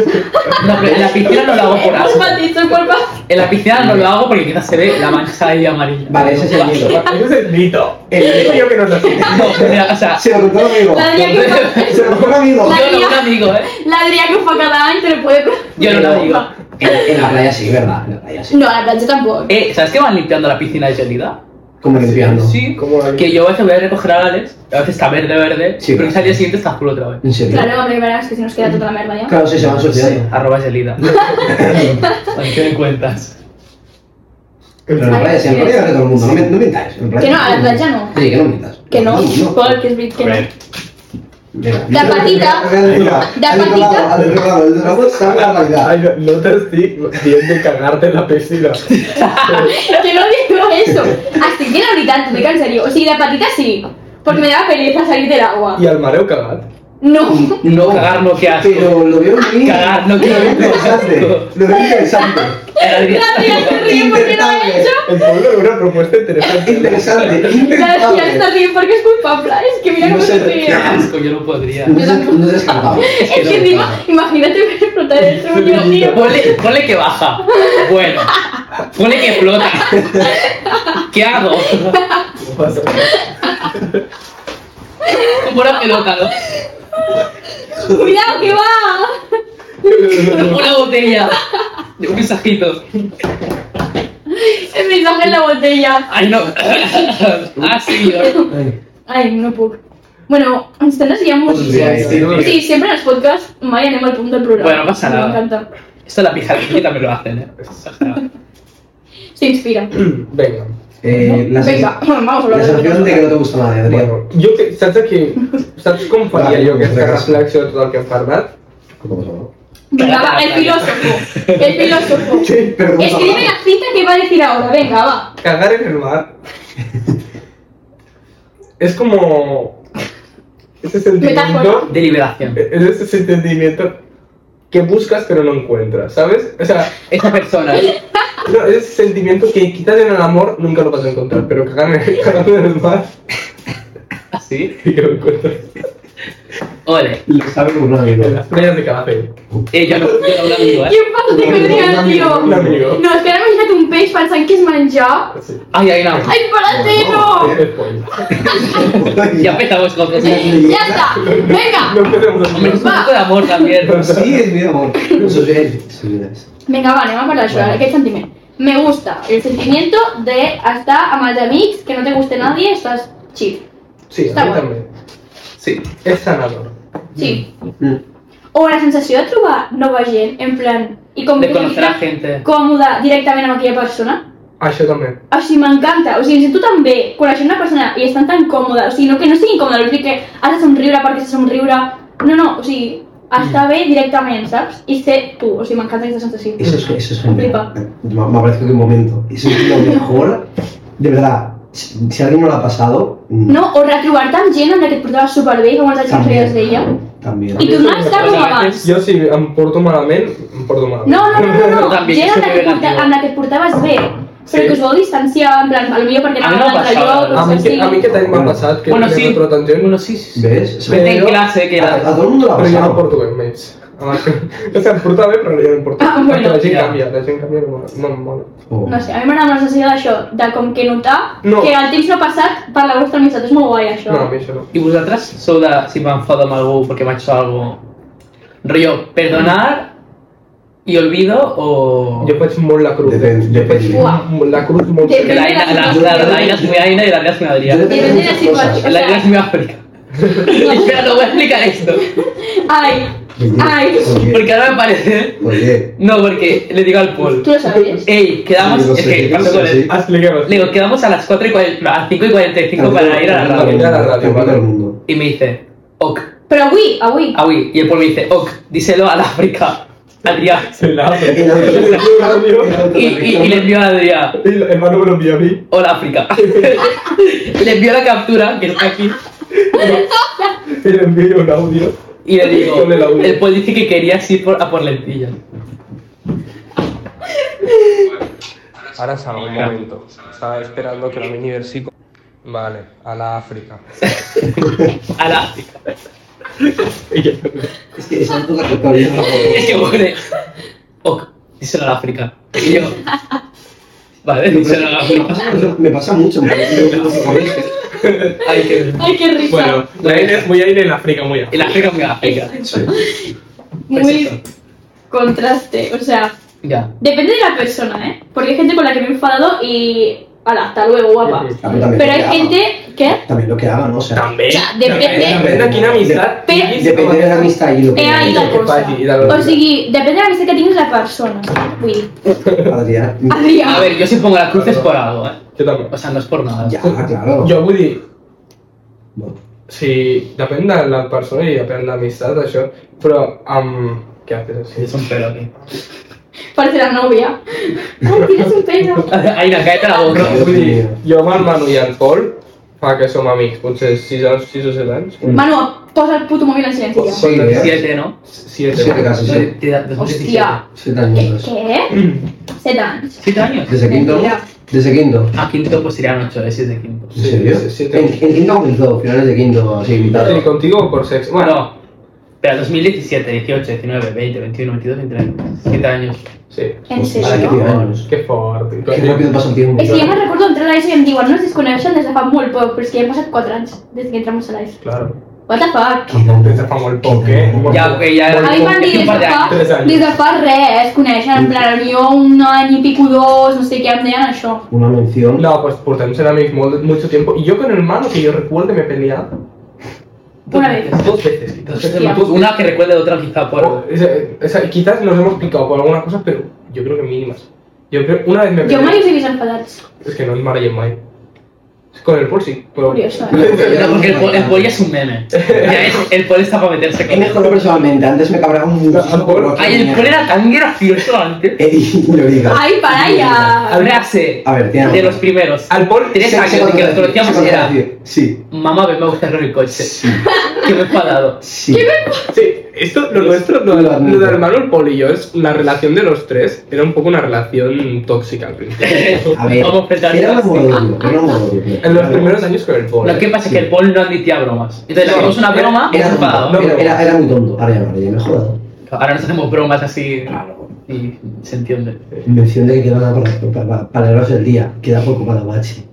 No, pero en la piscina no lo hago por
Por
asco.
patito, por patito.
En la piscina no lo hago porque quizás se ve la mancha ahí amarilla.
Vale, ese es el miedo.
Ese es el mito. El digo yo que no es así.
No, o sea,
Se lo contó un amigo.
La Adrià que fa,
Se lo contó un amigo.
La-
yo no lo digo, ¿eh?
la Adrià que ho fa cada any, te lo puede...
Yo no lo digo.
En, en la playa sí, ¿verdad? En la playa sí.
No, a la platja tampoc.
Eh, ¿sabes que van limpiando la piscina de Gelida?
Como limpiando.
Sí,
¿Cómo la
que yo a veces voy a recoger a Alex, a veces está verde, verde,
Sí.
pero ese día siguiente está azul otra vez.
En serio.
Claro, hombre, verás que si nos queda tota la merda ja.
Claro, sí, se van
Sí,
suicidando.
arroba Gelida. Mantienen cuentas.
Pero en la playa sí, en la playa hace todo el mundo. No, men- no mintáis. en playa
Que no, a la
todo el
playa no.
mundo. Sí, que no mintáis.
Que no,
no.
Pol, que és veritat que no.
Venga.
La patita. La
Al otro lado,
patita.
al otro lado, el dragón sabe la realidad.
Ay, no, no te estoy viendo cagarte en la piscina.
Que no digo eso. Estic dient la veritat, t'ho dic en serio. O sigui, la patita sí, porque me daba pereza salir del agua.
Y al mareo cagat.
No.
No, cagar no, qué asco.
Pero lo veo muy
Cagar no,
lo veo
qué
interesante.
asco.
Lo veo interesante.
Era
La
el día-
Adrià se ríe porque no he hecho.
El pueblo era una propuesta interesante.
Interesante.
Claro, si ya
Interesante.
está bien porque es culpable. Es que mira
No
cómo
sé
se
de
ríe.
qué
asco, yo no podría.
No es, no es descartado.
Es que encima, imagínate ver explotar el sueño, tío.
Ponle, ponle que baja. Bueno. Ponle que flota. ¿Qué hago? Como una pelota, ¿no?
Cuidado que va.
Una botella. De un mensajito.
El mensaje en la botella.
Ay, no. Ah, sí, yo.
Ai, no puc. Bueno, ens estem desviant moltíssim.
Sí, sí,
sí.
Sí, sempre en els podcasts mai anem al punt del programa.
Bueno, passa nada.
M'encanta.
Esto es la pijadilla también lo hacen, ¿eh?
S'inspira.
Venga.
Eh, la,
Venga, vamos a hablar de
la sensación
otro
de que no te gusta nada, Adrián.
Bueno, jo que, saps aquí, saps com faria
Vale,
jo aquesta
vinga.
reflexió de tot el que hem parlat?
Venga, va, el filósofo. El filósofo.
Sí, pero vamos a
Escribe
hablar.
la cita que va a decir ahora. Venga, va.
Cagar en el mar. Es como... Ese
Metáfora.
sentimiento...
De liberación.
Es ese sentimiento que buscas pero no encuentras, ¿sabes? O sea,
Esa persona.
no, es ese sentimiento que quizás en el amor nunca lo vas a encontrar, pero cagar en, cagando en el mar
Así.
sí que lo encuentras.
Ole.
Lo sabe con un amigo.
En las playas de Calafell.
Eh, yo no, yo no lo digo, ¿eh?
Quin fals de
Un
codria,
amigo,
Un
tio.
amigo.
No, és que ara m'he ficat un peix pensant que és menjar.
Sí.
Ay, ay, no.
Ai, espérate, no!
Es spoiler.
Ya empezamos con cosas.
Ya está, venga.
No empecemos
Hombre, es
así.
un poco de amor también.
Sí, es mi amor. Eso es él. Sí, es.
Venga, va, anem a parlar d'això, ara, aquest sentiment. Me gusta el sentimiento de estar amb els amics, que no te guste nadie, estás chill.
Sí, a
Está
mí
bueno.
también.
Sí.
Es sanador.
Sí.
Mm.
O la sensació de trobar nova gent, en plan... I com
De
que
conocer a
t'imagines
gente.
còmode directament amb aquella persona.
Ah, yo también.
O sigui, m'encanta. O sigui, em sento tan bé coneixent una persona i estan tan còmode. O sigui, no que no sigui incòmode, o sigui que has de somriure perquè has de somriure. No, no, o sigui, estar bé directament, saps? I ser tu. O sigui, m'encanta aquesta sensació.
Eso es, eso es genial.
Flipa.
Me, me parece que un momento. Eso es lo mejor. De verdad. Si si a alguien no lo ha pasado... mm,
No, o retrobar-te amb gent amb la que et portaves superbé i que molts anys no
també,
feies d'ella.
També.
I tornar a estar com abans.
Jo si em porto malament, em porto malament.
Ah, No, no, no, no, no.
També,
gent
és
amb la, que et
superrelativo.
porta, amb la que et portaves bé, però
Sí.
que us vau distanciar, en plan, potser perquè
A mi
anàvem a
no
un altre
passava.
lloc,
A
o
mí, que, a mí
sigui.
que también me ha pasado que
Bueno,
me
sí.
encuentro tan lleno,
Bueno, sí, sí. sí.
¿Ves?
Pero-
en clase que
A, a
era...
todo el mundo lo ha
pero yo no
pasado.
importo en mates. Ah, O sea, importa bien, pero yo no importo.
Ah, bueno,
la gent
ja.
cambia, la gent cambia, no, no, no.
Oh.
No sé, a mi m'agrada molt sensació d'això, de com que notar
No.
que el temps no ha passat per la vostra amistat. És molt guai, això.
No, a mí eso no.
I vosaltres sou de... Si m'enfado amb algú perquè m'ha hecho algo... Rollo, perdonar i olvido o...
Yo faig molt la cruz.
Depèn-
Jo faig
depèn.
molt- la cruz molt
Depèn.
Que la Aina, la, la, la Aina es muy Aina y la Andrea es muy
Yo
Adrián.
depende de
Depende de
muchas
si
cosas.
vas-
La Andrea es muy África. Espera, no voy a explicar esto.
Ai,
Oye,
ai.
Oye,
Porque ahora me parece...
oye.
No, porque le digo al Paul.
Tu lo sabías.
Ey, quedamos...
Sí, no
es
sé,
que
no
pasó
sé,
con él.
sí.
Expliqueu-ho.
Le digo, quedamos a las 4 y 40, a las 5 y 45 para ir a la
Tampoco-
radio.
ir a la radio,
tampoco
vale.
el mundo.
Y me dice, ok,
Però avui, avui.
awi. Y el Paul me dice, ok, díselo al África. Adrián.
Se la hace.
En la
Y
autopista- en la
el
Y, y- y le envió a Adrián.
hermano me lo envió a mí.
Hola África. le envió la captura, que está aquí,
Y le envió un audio.
y le digo,
Con el audio.
el Paul dice que querías ir por, a por lentillas.
Ahora salgo un momento. Estaba esperando que la mini versico. Vale, a la África.
A la África.
Es que esa es toda la todavía no la puedo.
Y es que pone, ok, díselo a la África. Y yo, vale, díselo a la
Me
África.
pasa- Me pasa mucho, me parece que no se conoce.
Ay, qué...
Ai, que risa.
Bueno, la Aina es muy Aina y la África muy
El África me África.
Muy contraste, o sea...
Ya.
Depende de la persona, ¿eh? Porque hay gente con la que me he enfadado y... hala, hasta luego, guapa.
Ujú.
También lo
Pero
que
hay
haga.
gente que...
También lo que haga, ¿no? O sea,
També.
O sea, depende...
Depèn de quina amistat
Pe-
tinguis.
depende de la amistad y lo que
He ahí la
haga.
cosa. O sigui, depende de la amistad que tienes la persona. Will.
Adrián.
Adrià.
A ver, yo si pongo las cruces por algo, ¿eh?
Jo també.
O sea, no es por nada.
Ya, claro.
Jo vull dir,
Bueno,
si depèn de la persona i depèn de l'amistat, això, però amb... Què haces així?
Es un pelo aquí.
Parece la novia. Ay, tienes un pelo.
Aina, cállate la boca.
Dios
Vull dir,
mío.
jo amb el Manu i el Pol fa que som amics, potser 6 anys, 6 o 7 anys.
Manu, posa el puto móvil en silencio.
Sí,
Quantes-
eh?
Siete, ¿no?
Siete.
Siete casi,
No,
sí.
te da- te son 17.
Hostia.
Siete
¿Qué?
años.
¿Qué? Set anys.
¿Siete años?
¿Desde quinto?
Mentira.
¿Desde quinto?
Ah, quinto pues serían ocho, ese es de quinto.
¿En
Sí,
serio?
sí, siete.
En, en quinto comenzó, finales de quinto, así invitado.
Sí, contigo o por sexo? Bueno,
No, pero 2017, 18, 19, 20, 21, 22, 23, 7 años.
sí.
En
Ahora Pues, que
serio.
tiene años.
Que fort.
Qué rápido pasa el tiempo.
És que jo me'n recordo entrar a l'ESO i em diuen no ens desconeixen des de fa molt poc, però és que ja han passat 4 anys des que entramos a l'ESO.
Claro.
What the fuck?
Quinto.
Des de fa molt poc, eh? Molt
Ya,
poc.
ok, ya
A mi em van dir
un
des
par de
de fa,
años.
Tres anys.
des de fa res, es coneixen, en plan, jo un any i pico dos, no sé què, em deien això.
Una mención.
No, pues por ser amigos mol- mucho tiempo. Y yo con el hermano que yo recuerdo me peleaba
Una vez.
dos veces.
Dos
quizás.
veces,
Hostia.
pues, Una que recuerde, otra quizá
O-
por...
o sea, o sea, quizás nos hemos picado por algunas cosas, pero yo creo que mínimas. Yo creo, una vez me
Jo
peleé.
mai us he vist enfadats.
Es que no es Mara y es Mai. Es con el Pulsi. Pero...
Curioso, eh?
No, porque el, pol- el poli es un meme. Ya, el- El poli está para meterse
He
con
mejorado personalmente, antes me cabraba muchísimo. por lo que
Ay, el
tenía.
poli era tan gracioso antes.
Ey, no digas.
Ai, para ja!
Andrea C,
A ver, tiene
de
algo.
los primeros.
Al Pol
Tres
Sí, sí,
años de que nos
sí,
conocíamos
sí,
era...
sí, Sí,
Mamá, ven, me gusta el coche. Que me he enfadado.
sí.
Sí, esto, lo nuestro, lo, lo del hermano el Pol y yo, es la relación de los tres, era un poco una relación tóxica al principio.
A ver,
Vamos a enfrentarnos.
era un modo duro, era un modo duro.
En los primeros años con el Pol.
Lo que pasa es que el Paul no admitía bromas. Entonces le
No,
hacemos una
era-
broma y se
Era
enfadaba.
tonto, era, era, era muy tonto. Ahora ya, ahora ya, he mejorado.
Ahora nos hacemos bromas así
Claro.
y se entiende.
Mención de que quedan para, para, para, palabras del día. Queda poco para Bachi.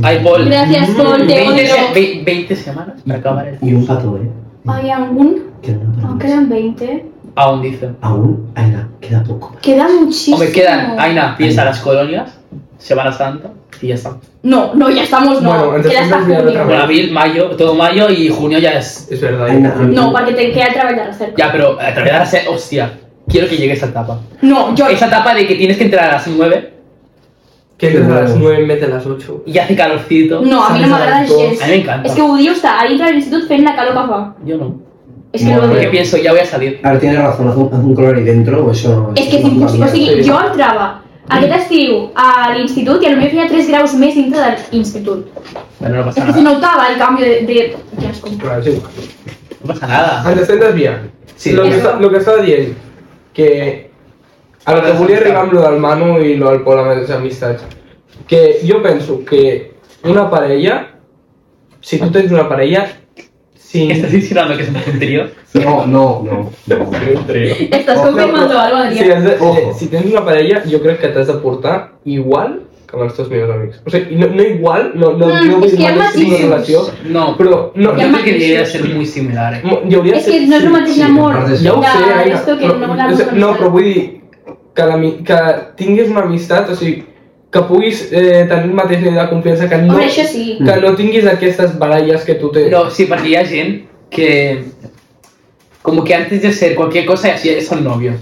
Ay, Paul.
Gràcies, Pol, te
20, se-
odio.
ve- 20 semanas para acabar el...
Y un pato, ¿eh?
Ai, aún,
Queda una
aún
para Bachi.
quedan 20.
Aún dice.
Aún, Aina, queda poco.
Queda muchísimo.
O me quedan, Aina, piensa las colonias, Semana Santa y ya está.
No, no, ya estamos, no.
Bueno, entonces
queda hasta
vamos a mirar otra
junio.
Bueno, abril, mayo, todo mayo y junio ya es...
Es verdad.
Aina,
No, perquè te queda treballar cerca.
Ya, pero a través de la se- Hostia, quiero que llegue esa etapa.
No, jo...
Esa etapa de que tienes que entrar a las 9
Que entras a las 9 en vez de las 8.
y hace calorcito.
No, a mi no m'agrada gens.
A mí me encanta.
És que odio estar a dintre de l'institut fent la calor que fa.
Yo no.
És que
Molt
no
bé.
Porque pienso, ya voy a salir.
A ver, tienes razón, haz un, haz un color ahí dentro o eso.
És que és
no
impossible. O
cambia.
sigui, jo entrava Aquest estiu a l'institut i potser feia 3 graus més dintre de l'institut.
Bueno, no
Es
pasa
que se
nada.
notaba el cambio de... de... Qué asco.
Bueno, es igual.
No pasa nada.
Antecedentes bien.
Sí.
Lo que,
Eso.
está- lo que estava dient, que a lo que volia arribar amb lo del Manu i lo del Pol amb les amistats, que jo penso que una parella, si tu tens una parella, si...
¿Estás insinuando que es un tonterío?
No, no, no. no.
Estás
Ojo,
confirmando algo,
Si,
Adrián.
has de, eh,
Ojo.
si, si tens una parella, jo crec que t'has de portar igual que amb els teus millors amics. O sigui, no, no igual, no, no,
Mm,
no
és que hi ha
mateix tipus de relació,
matisos.
No,
però
Hi
no,
yo
ha
creo que
matices.
debería ser muy similar. eh.
hi hauria de
Es que
ser-
no es lo
sí,
mateix
sí,
l'amor
sí,
Ja ho sé,
de
Aina,
esto que
però,
no la
és- no, però
amistad.
vull dir que, l'ami- que tinguis una amistat, o sigui, que puguis eh, tenir el mateix nivell de confiança, que no,
Home, això sí.
que no tinguis aquestes baralles que tu tens.
Pero sí, porque hay gente que... Como que antes de ser cualquier cosa, así son novios.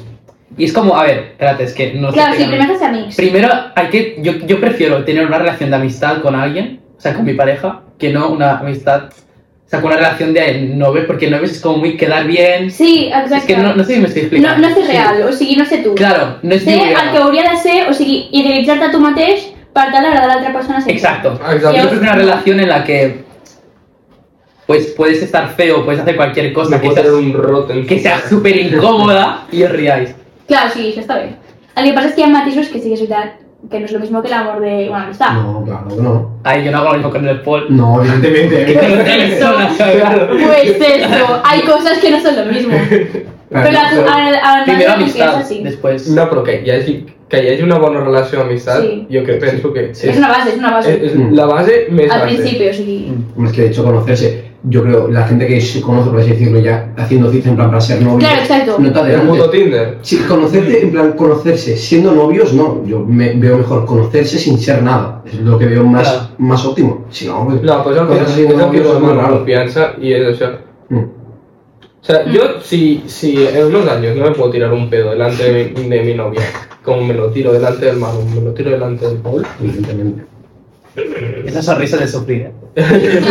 Y es como, a ver, espérate, es que no sé
Claro,
qué
sí,
ganar.
primero haces amigos.
Primero, hay que, yo, yo prefiero tener una relación de amistad con alguien, o sea, con mi pareja, que no una amistad, o sea, con una relación de novios, porque novios es como muy quedar bien.
Sí, exacte.
Es que no, no sé si me estoy
no,
explicando.
no sé real, o sigui, no sé tu.
Claro, no es
Sé
muy
el que hauria de ser, o sigui, idealitzar-te tu mateix per tal d'agradar a l'altra persona sempre.
Exacto.
Ah, Exacto.
Yo creo que una relación en la que pues puedes estar feo, puedes hacer cualquier
Me
cosa que
puedo
seas-
tirar un roto en
que
su
sea
cara.
súper incómoda y os riáis.
Clar, o sigui, això està bé. El que passa és que hi ha matisos que sí que és veritat que no és el mismo que l'amor de una amistad.
No, claro que no.
Ay, yo no hago lo mismo con el Paul.
No,
Que
evidentemente.
con otra persona, ¿sabes?
Pues eso, hay cosas que no son lo mismo. Pero la,
Claro,
a, a, a
Primero
la confianza
amistad,
sí.
después.
No, però que hi hagi, que hi hagi una bona relació d'amistat,
Sí.
jo que penso que
Sí.
Es una base, es una
és,
base.
és la base més
Al
base.
principio, sí.
Es que de hecho conocerse, yo creo, la gente que se conoce, por así decirlo, ya haciendo cita en plan para ser novio.
Claro, exacto.
No te
El puto
adelantes.
Tinder.
Sí, conocerte, en plan, conocerse siendo novios, no. Yo me veo mejor conocerse sin ser nada. Es lo que veo más,
Claro.
más óptimo. Si no, pues,
No, pues és el que,
conocerse
és
siendo
el que
novios es muy
dona
raro.
confiança i és això.
Mm.
O sea, yo si, si en unos años no me puedo tirar un pedo delante de mi, de mi novia, como me lo tiro delante del Manu, me lo tiro delante del Paul,
Evidentemente.
Esa sonrisa de sufrir. ¿eh?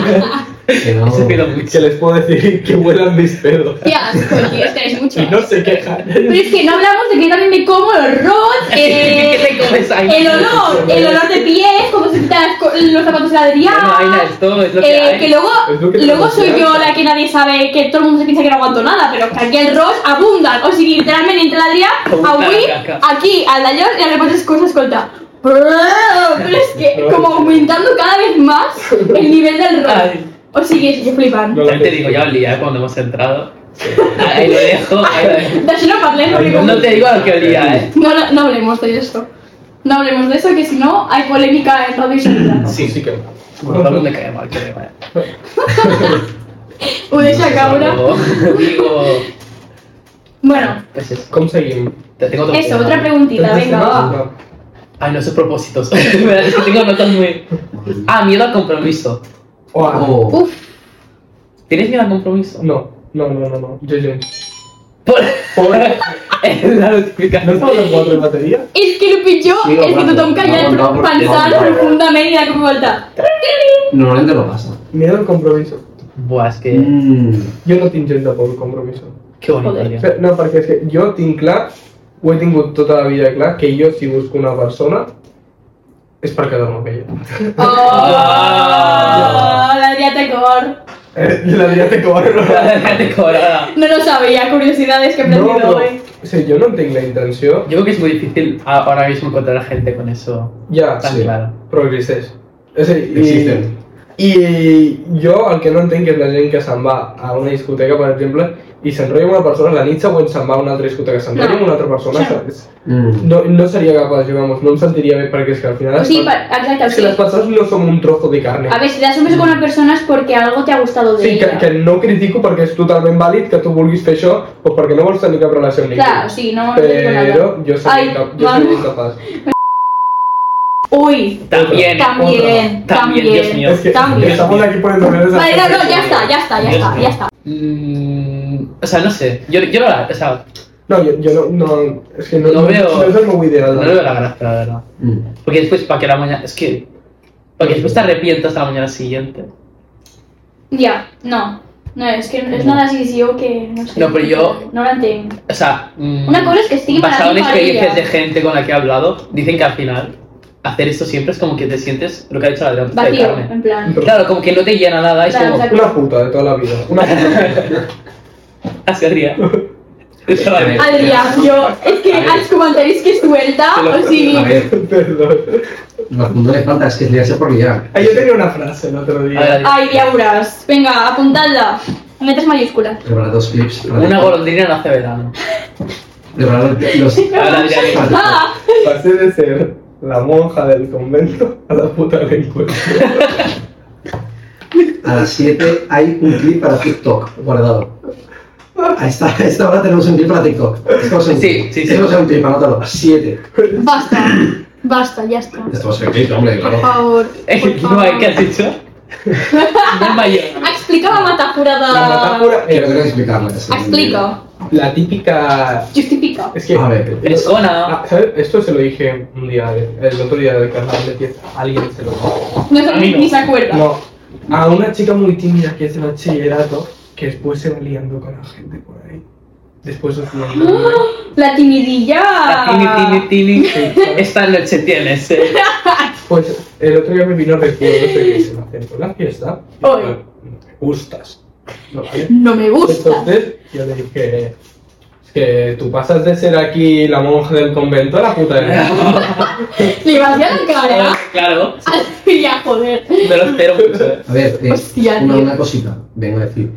Que no-
Ese pelo mucho.
que les puedo decir que vuelan mis pedos.
Qué asco, tío, tenéis mucho.
Y no se quejan.
Pero es que no hablamos de que también me como el rot, eh,
¿Qué te comes ahí?
el olor, el olor de pies, como se quitan las co- los zapatos de Adrián.
Bueno, Aina, esto es lo que
Eh,
hay.
que luego,
Es lo que
luego
tenemos
soy
que
yo
hacer.
la que nadie sabe, que todo el mundo se piensa que no aguanto nada, pero que aquí el Ross abundan. O sigui, literalment entre l'Adrià,
Abunda
avui,
la caca.
aquí, al d'allò, i al repaso escolta, escolta. Pero es que como aumentando cada vez más el nivel del Ross.
Ay.
O sigui, és flipant.
También te digo, ya olía ¿eh? cuando hemos entrado. Ahí lo dejo. Ahí lo dejo.
D'això no parlem, perquè com-
No te digo lo que olía, ¿eh?
No, no, no hablemos de eso. No hablemos de eso, que si no hay polémica en Radio Isla.
Sí, sí que no.
Bueno, todo el mundo cae mal, creo. ¿eh?
Ho deixa caure.
Luego, digo.
Bueno,
Pues eso.
¿Cómo seguimos?
Te tengo otro
eso,
tema.
otra preguntita, venga, va.
Ay, no, esos propósitos. es que tengo notas muy. Ah, miedo al compromiso.
Oh,
Oh.
Uf,
¿Tienes miedo al compromiso?
No, no, no, no, no. Yo, yo.
Por.
Por-
la notificación.
en cuatro de batería?
és que el pitjor
Sí,
és que
aguanta,
tothom callat
aguanta,
no,
aguanta,
pensant
aguanta.
profundament i de cop i volta.
Normalmente lo pasa.
Miedo al compromiso.
Buah, es que.
Mm.
Yo no tinc gent de por compromiso.
Qué bonito,
Joder.
tío.
Fe- No, perquè és que jo tinc clar, ho he tingut tota la vida clar, que jo si busco una persona és per quedar-me amb ella.
Oh,
Ah.
oh. l'Adrià té cor.
Eh, la vida te corre.
Te cobraba.
No lo sabia, curiosidades que he
No,
aprendido
però,
hoy.
o sigui, jo no entenc la intenció,
Yo creo que es muy difícil a- ahora mismo encontrar gente con eso
ja,
tan
Sí.
claro.
però existeix. És a dir,
Existen.
i, I jo el que no entenc és la gent que se'n va a una discoteca, per exemple, i s'enrotlla amb una persona, la nit següent se'n va a una altra discoteca, s'enrotlla
No.
amb una altra persona, saps?
Mm.
No, no seria capaç, jo, vamos, no em sentiria bé perquè és que al final...
O
les
sigui,
per-
per, exacte, o
Es que las
sigui,
personas no son un trozo de carne.
a ver, si te asumes con una persona es porque algo te ha gustado de
Sí, que,
ella.
que no critico perquè és totalment vàlid que tu vulguis fer això o perquè no vols tenir cap relació amb ningú.
Clar, o sigui, no- no digo nada.
Però jo
Ai,
seria, cap, jo
Manu.
seria incapaç.
Uy,
También.
también, también.
Otra. También, Dios mío.
Es que
También.
estamos aquí poniendo menos de-
Vale, no, no, ya está, ya está, ya está, ya está.
Mm, o sea, no sé. Yo, yo no, la, o sea,
No, yo, yo no, no, es que no,
No veo-
no es el nuevo ideal.
no le veo la gracia, la verdad.
Mm.
Porque después, para que la mañana. Es que. Porque después te arrepientas a la mañana siguiente.
Ya, no. No, és que és
No.
una decisió que no sé.
No, però jo-
No l'entenc.
O sea, mm,
Una cosa es que estiguen para
basado en
ti, para
experiencias
ella.
de gente con la que he hablado, dicen que al final hacer esto siempre es como que te sientes lo que ha dicho la de la pizza de
Vacío,
carne.
en plan.
Claro, como que no te llena nada, es
Claro,
como,
exacto.
Una puta de toda la vida. Una puta.
así arriba.
Adrià, jo, és que els comentaris que suelta, o sigui,
A ver,
Perdón.
no, no le falta, es que le hace por liar.
Ah, yo tenía una frase el otro día.
ai, ja veuràs. Vinga, apuntadla. En Metres mayúscules.
Preparar dos clips. preparad-
Una golondrina no hace verano.
preparad los-
Ahora diré,
Ah,
Pasé de ser la monja del convento a la puta del encuentro.
A las 7 hay un clip para TikTok guardado. A esta, a esta hora tenemos un clip para TikTok. Esto va a ser un
Sí,
clip.
sí, sí.
Esto va a ser un clip, anótalo. A las 7.
Basta, basta, ya está.
Esto va a ser clip, hombre,
Por
claro.
favor. Por
Eh, no hay
favor.
que has dicho. No es mayor.
explica la metàfora de...
La metáfora
Quiero que
es
explicarla. que sea-
Explica.
la típica.
Justifica.
Es que.
A ver.
Frescona.
Ah, ¿sabes? Esto se lo dije un día, el otro día del carnaval de fiesta. Alguien se lo dijo.
No sé, ni, ni se acuerda.
No, a una chica muy tímida que es de bachillerato, que después se va liando con la gente por ahí. Después os lo digo.
Uh, La timidilla...
Ah.
Tini, tini, tini. Esta noche tienes. eh.
Pues el otro día me vino recuerdo de que se me acercó la fiesta. y
Oy.
dijo, Me gustas. ¿no? ¿Vale?
No me gusta.
Entonces yo le dije, es que tú pasas de ser aquí la monja del convento a la puta de
Li vas dir a la cara.
Claro,
Así ya, joder.
me lo espero mucho. eh.
A ver, eh,
Hostia,
una,
tío.
una cosita, vengo a decir.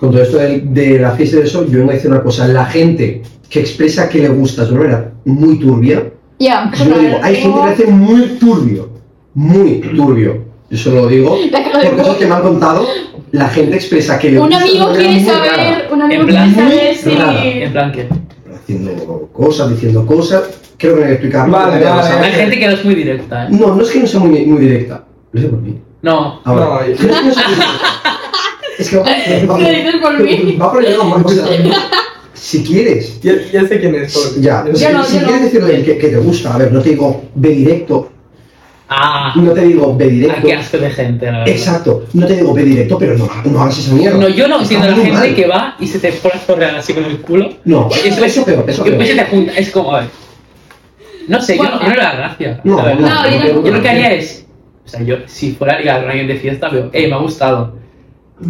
Con todo esto del- de, la fiesta del sol, yo vengo a decir una cosa. La gente que expresa que le gusta de una manera muy turbia,
Ya,
yo lo digo, hay gente que lo hace muy turbio, muy turbio. Yo solo lo digo
La cara de
porque eso que me han contado, la gente expresa que le
Un
gusta de
amigo
una manera
quiere
muy rara,
saber... Un amigo
En
quiere
plan,
saber si...
rara.
En plan que.
Haciendo cosas, diciendo cosas, creo que no hay que explicarlo.
Vale,
porque me ha
vale,
pasado.
Hay gente que no es muy directa, ¿eh?
No, no es que no sea muy, muy directa. Lo sé por mí.
No.
Ahora,
No,
no,
yo-
es que no soy muy directa. Es que va, va-
Lo dices por mí.
va por el lado más. o sea, Si quieres,
Ya, ya sé quién es. Sol.
ya.
Yo
si
Ya no,
si
ya no.
quieres decirle que, que te gusta, a ver, no te digo ve directo,
Ah,
no te digo ve
ah,
directo.
qué asco de gente, la verdad.
Exacto, no te digo ve directo, pero no, no hagas esa mierda.
No, yo no
Está
entiendo a la
muy
gente
mal.
que va y se te pone a zorrear así con el culo.
No,
Y
eso
después-
es peor, eso
y
es
después se
peor.
te junta. Es como, a ver. No sé, yo no, yo no le da gracia.
No,
la
no,
verdad.
No, yo
no,
tampoco.
Yo lo que haría es. O sea, yo si fuera a ligar con alguien de fiesta, veo, eh, me ha gustado.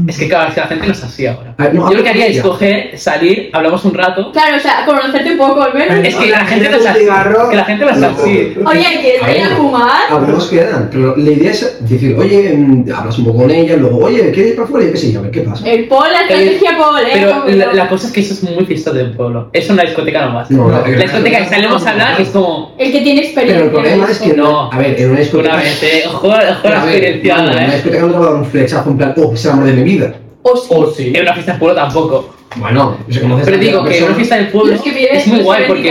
Es que claro, es que la gente no es así ahora.
A ver, no,
yo lo que haría
ya.
es coger, salir, hablamos un rato.
Claro, o sea, conocerte un poco, al menos.
Es que la gente no es así.
cigarro.
Que la gente no es así.
Oye, ¿quieres
A ver.
ir a fumar?
Algunos quedan, pero la idea es decir, oye, mm, hablas un poco con ella, luego, oye, ¿quieres ir para afuera? Y qué sé yo, a ver qué
Eh,
pasa.
El Paul, la estrategia Paul, eh.
Pero
como
la,
yo.
la cosa es que eso es muy fiesta del pueblo. Eso en la discoteca nomás.
No,
la
no, no.
discoteca que salimos a hablar es como.
El que tiene experiencia.
Pero el problema es que
No.
a ver, en una discoteca.
Una vez, eh. Ojo, ojo
Pero
la
a ver, no, en
experienciada,
una
eh.
discoteca no te va a dar un flechazo en plan, oh, es el amor de mi vida.
O sí.
O sí.
En una fiesta del pueblo tampoco.
Bueno, se conoces
Pero
a la
digo que en
persona.
una fiesta del pueblo
Los que viven-
es muy
los que
guay
ven
porque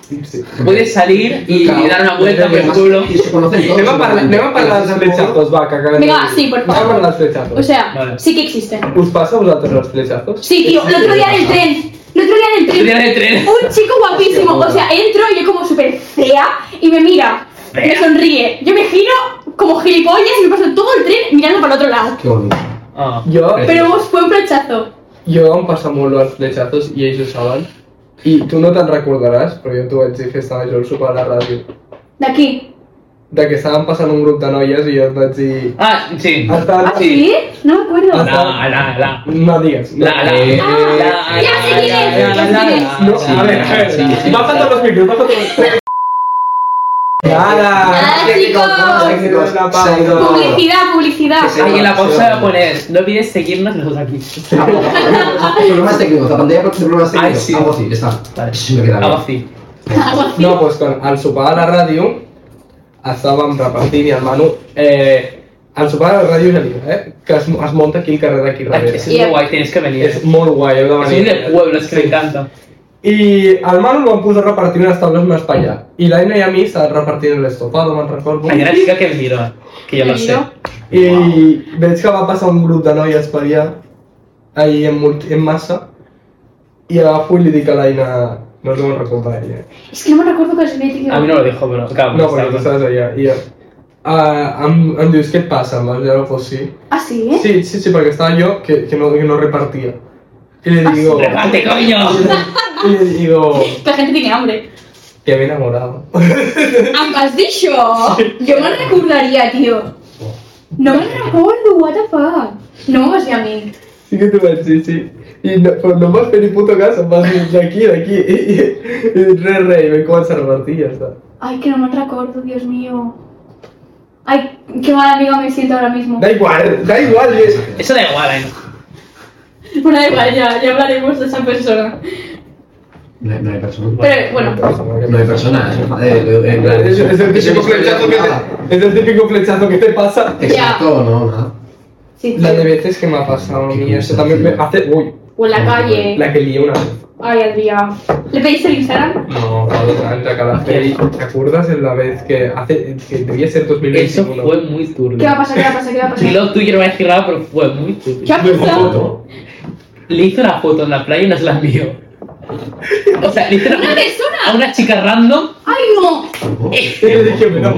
Titanic.
Sí.
puedes salir y
Claro,
dar una vuelta por el
además,
pueblo.
Y se conocen todos.
Anem a parlar, anem a parlar dels
Entonces,
flechazos, va, que acabem
Vinga,
de-
sí, por favor.
Anem a parlar dels flechazos.
O sea,
Vale.
sí que existen.
¿Us pasa a vosaltres els flechazos?
Sí, tío, el otro día en el tren. El otro día en el tren.
Tú tienes el tren.
Un chico guapísimo, o sea, entro yo como súper fea y me mira, me sonríe. Yo me giro como gilipollas y me paso todo el tren mirando para el otro lado.
Qué bonito.
Ah.
Jo,
Pero vamos, fue un flechazo.
jo em passa molt els flechazos i ells ho saben. I tu no te'n recordaràs, però jo t'ho vaig dir que estava jo al sopar a la ràdio.
De aquí.
De que estaven passant un grup de noies i jo et vaig dir...
Ah, sí. Ah,
Estan...
¿Ah, sí? No me acuerdo.
La, la, la.
No digues. No.
La, la.
Eh,
La,
ya sé quién es,
la, la,
ya sé
la,
quién
la,
No,
la,
a ver,
la,
a ver.
la, la,
Baja
la.
todos los micros, baja todos los micros. Nada.
Nada, chicos.
Técnicos, se ha ido-
Publicidad, publicidad.
Que se-
Ahí en la pausa voy a poner, no olvides seguirnos nosotros aquí.
Problemas técnicos, la pantalla por problemas
Ay,
técnicos.
sí.
Algo así, ya está.
Vale.
Sí, me queda bien.
Algo así.
No, doncs quan al sopar a la ràdio estàvem repartint i el Manu... Eh, al sopar a la ràdio ja diu, eh? Que es, es monta aquí el carrer d'aquí darrere.
Es muy guay, tienes que venir.
És
Es
molt guai, heu de
muy
venir.
del pueblo, es que me encanta.
I el Manu el van posar a repartir unes taules més per allà. I l'Aina i a mi estàvem repartint l'estofado, me'n recordo.
Hay una chica que miro, que yo lo sé.
I veig que va passar un grup de noies per allà, ahir en, multi, en massa, i agafo i li dic a l'Aina... No us ho recordo ella.
Es que no me recuerdo que es
A mí no lo dijo, pero claro,
No,
está
perquè tu
bien.
estàs allà. I jo, ah, em, em dius què et passa amb el gel fossí?
Ah, sí?
Sí, sí, sí, perquè estava jo que, que, no, que no repartía. Y le digo,
¡Reparte, coño!
y le digo
Que la gente tiene hambre.
que me he enamorado.
Em has dit això? Jo me'n recordaria, tio. No me'n recordo, what the fuck. No m'ho vas dir a mi.
Sí que te vas, sí, sí. Y no, pues no vas fer ni puto caso, vas dir d'aquí, d'aquí, i, i, i, re, re, i vam començar a repartir i ja està.
Ay, que no me'n recordo, Dios mío. Ay, qué mal amigo me siento ahora mismo.
Da igual, da igual, és...
Eso da igual, ¿eh?
Bueno, da igual, ya, ya hablaremos de esa persona.
No hay, no hay personas.
Pero bueno,
No hay personas. eh, en plan,
Es, es el
eso
típico
que
flechazo que
nada.
te, es el típico flechazo que te pasa.
Exacto, no, nada.
sí,
La de
sí.
veces que me ha pasado a mí, eso también me hace... Uy,
O en la calle.
la que lié una vez.
Ay, Adrián. ¿Le pediste el Instagram?
No, otra cada peli. ¿Te acuerdas en la vez que hace que debía ser
Eso
2021?
fue muy
¿Qué va a
turbio.
pasar? ¿Qué va a pasar? ¿Qué va a
Si
pasar?
lo tuyo no va a decir nada, pero fue muy
¿Qué
turbio.
ha pasado?
Foto.
Le hice una foto en la playa y no se la envió. O sea, le hice una
¡Una persona!
a una chica random,
¡Ay, no!
Y le dije, no,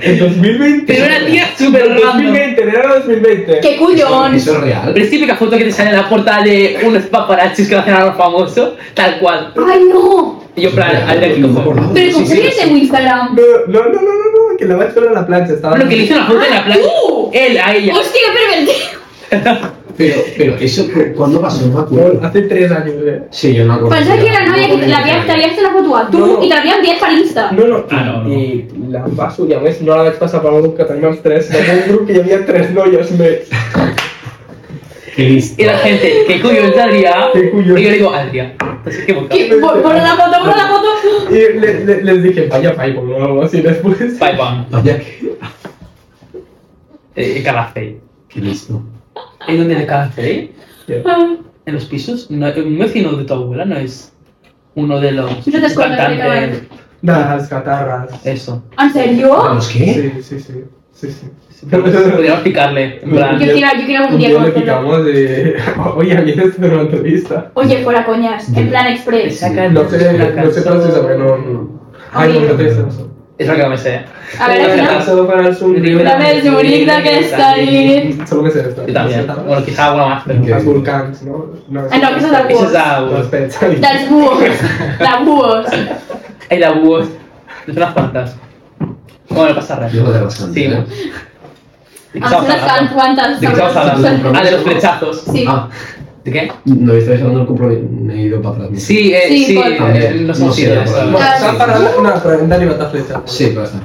en 2020.
pero una tía súper
en
random.
2020, en enero de 2020.
¡Qué cullón!
Eso es real.
La típica foto que te sale en la puerta de unos paparazzis que hacen a los famosos, tal cual.
¡Ay, no!
Y yo, en plan, al de aquí
No me
cojo.
acordaba.
Pero ¿con qué le tengo Instagram?
No, no, no, no, no, no, que la va a hacer en la plancha. Estaba.
Bueno, que le hice una foto en la playa.
Ah, ¡Tú!
Él, a ella.
¡Hostia, qué pervertido!
Pero, pero eso, ¿cuándo pasó? No me
Bueno,
acuerdo.
Hace tres años, eh.
Sí, yo no me acuerdo.
Pensaba que era la novia que te la había, te había hecho la foto a tú
No.
y te la había enviado para Insta.
No, no,
Ah, no, no.
i la va subir, a més, no la vaig passar per un grup que tenim els tres, en un grup que hi havia tres noies més.
Y la gente, ¿qué coño es Adrià?
Qué cuyo.
Y yo le digo, Adrià, estás equivocado.
Que- bo- Borra la foto, borra la foto.
Y le, le, les dije, vaya paipo o algo así después.
Bye, bye.
Vaya, qué,
Eh, Calafell.
qué listo.
¿En dónde de Calafell?
Ah,
¿eh? En los pisos. No, un vecino de tu abuela no es uno de los
Yo te escucho,
cantantes.
Las catarras.
Eso.
Ah, ¿En serio?
¿Vamos qué?
Sí, sí, sí. sí, sí.
Podríamos pues, picarle. En plan,
Yo quiero, yo quiero un día
le
conocerlo.
picamos de. Oye, vienes de una entrevista.
Oye, fuera coñas, en plan express.
saca
No sé,
una
no
canción.
sé francés, pero no. no. Ay, no, no te sé.
Es lo que no me sé.
A ver, al final.
Solo para el sur.
La vez bonita que está ahí.
Solo me sé esto.
Yo también. Bueno, quizá alguna más, pero.
Las volcans, ¿no? No,
Ah, no, que eso es
Eso es la
la
Los
búhos.
pets.
Las búhos. Las búhos.
Hay la búhos. Es unas cuantas. Bueno, pasa rápido.
Yo lo de bastante.
Sí.
¿eh?
¿De qué
Hacer
estamos
unas tan
hablando?
Ah, cuantas.
¿De qué estamos hablando? Ah, de los flechazos.
Sí.
Ah,
¿De qué?
no estáis hablando del compromiso. Me he ido para atrás. ¿no?
Sí, eh,
Sí,
sí,
por-
eh, nos
No
hemos
sé,
ido.
por
eso.
ahí.
Bueno, están parando una pregunta y matar flecha.
Sí, pues. pero está.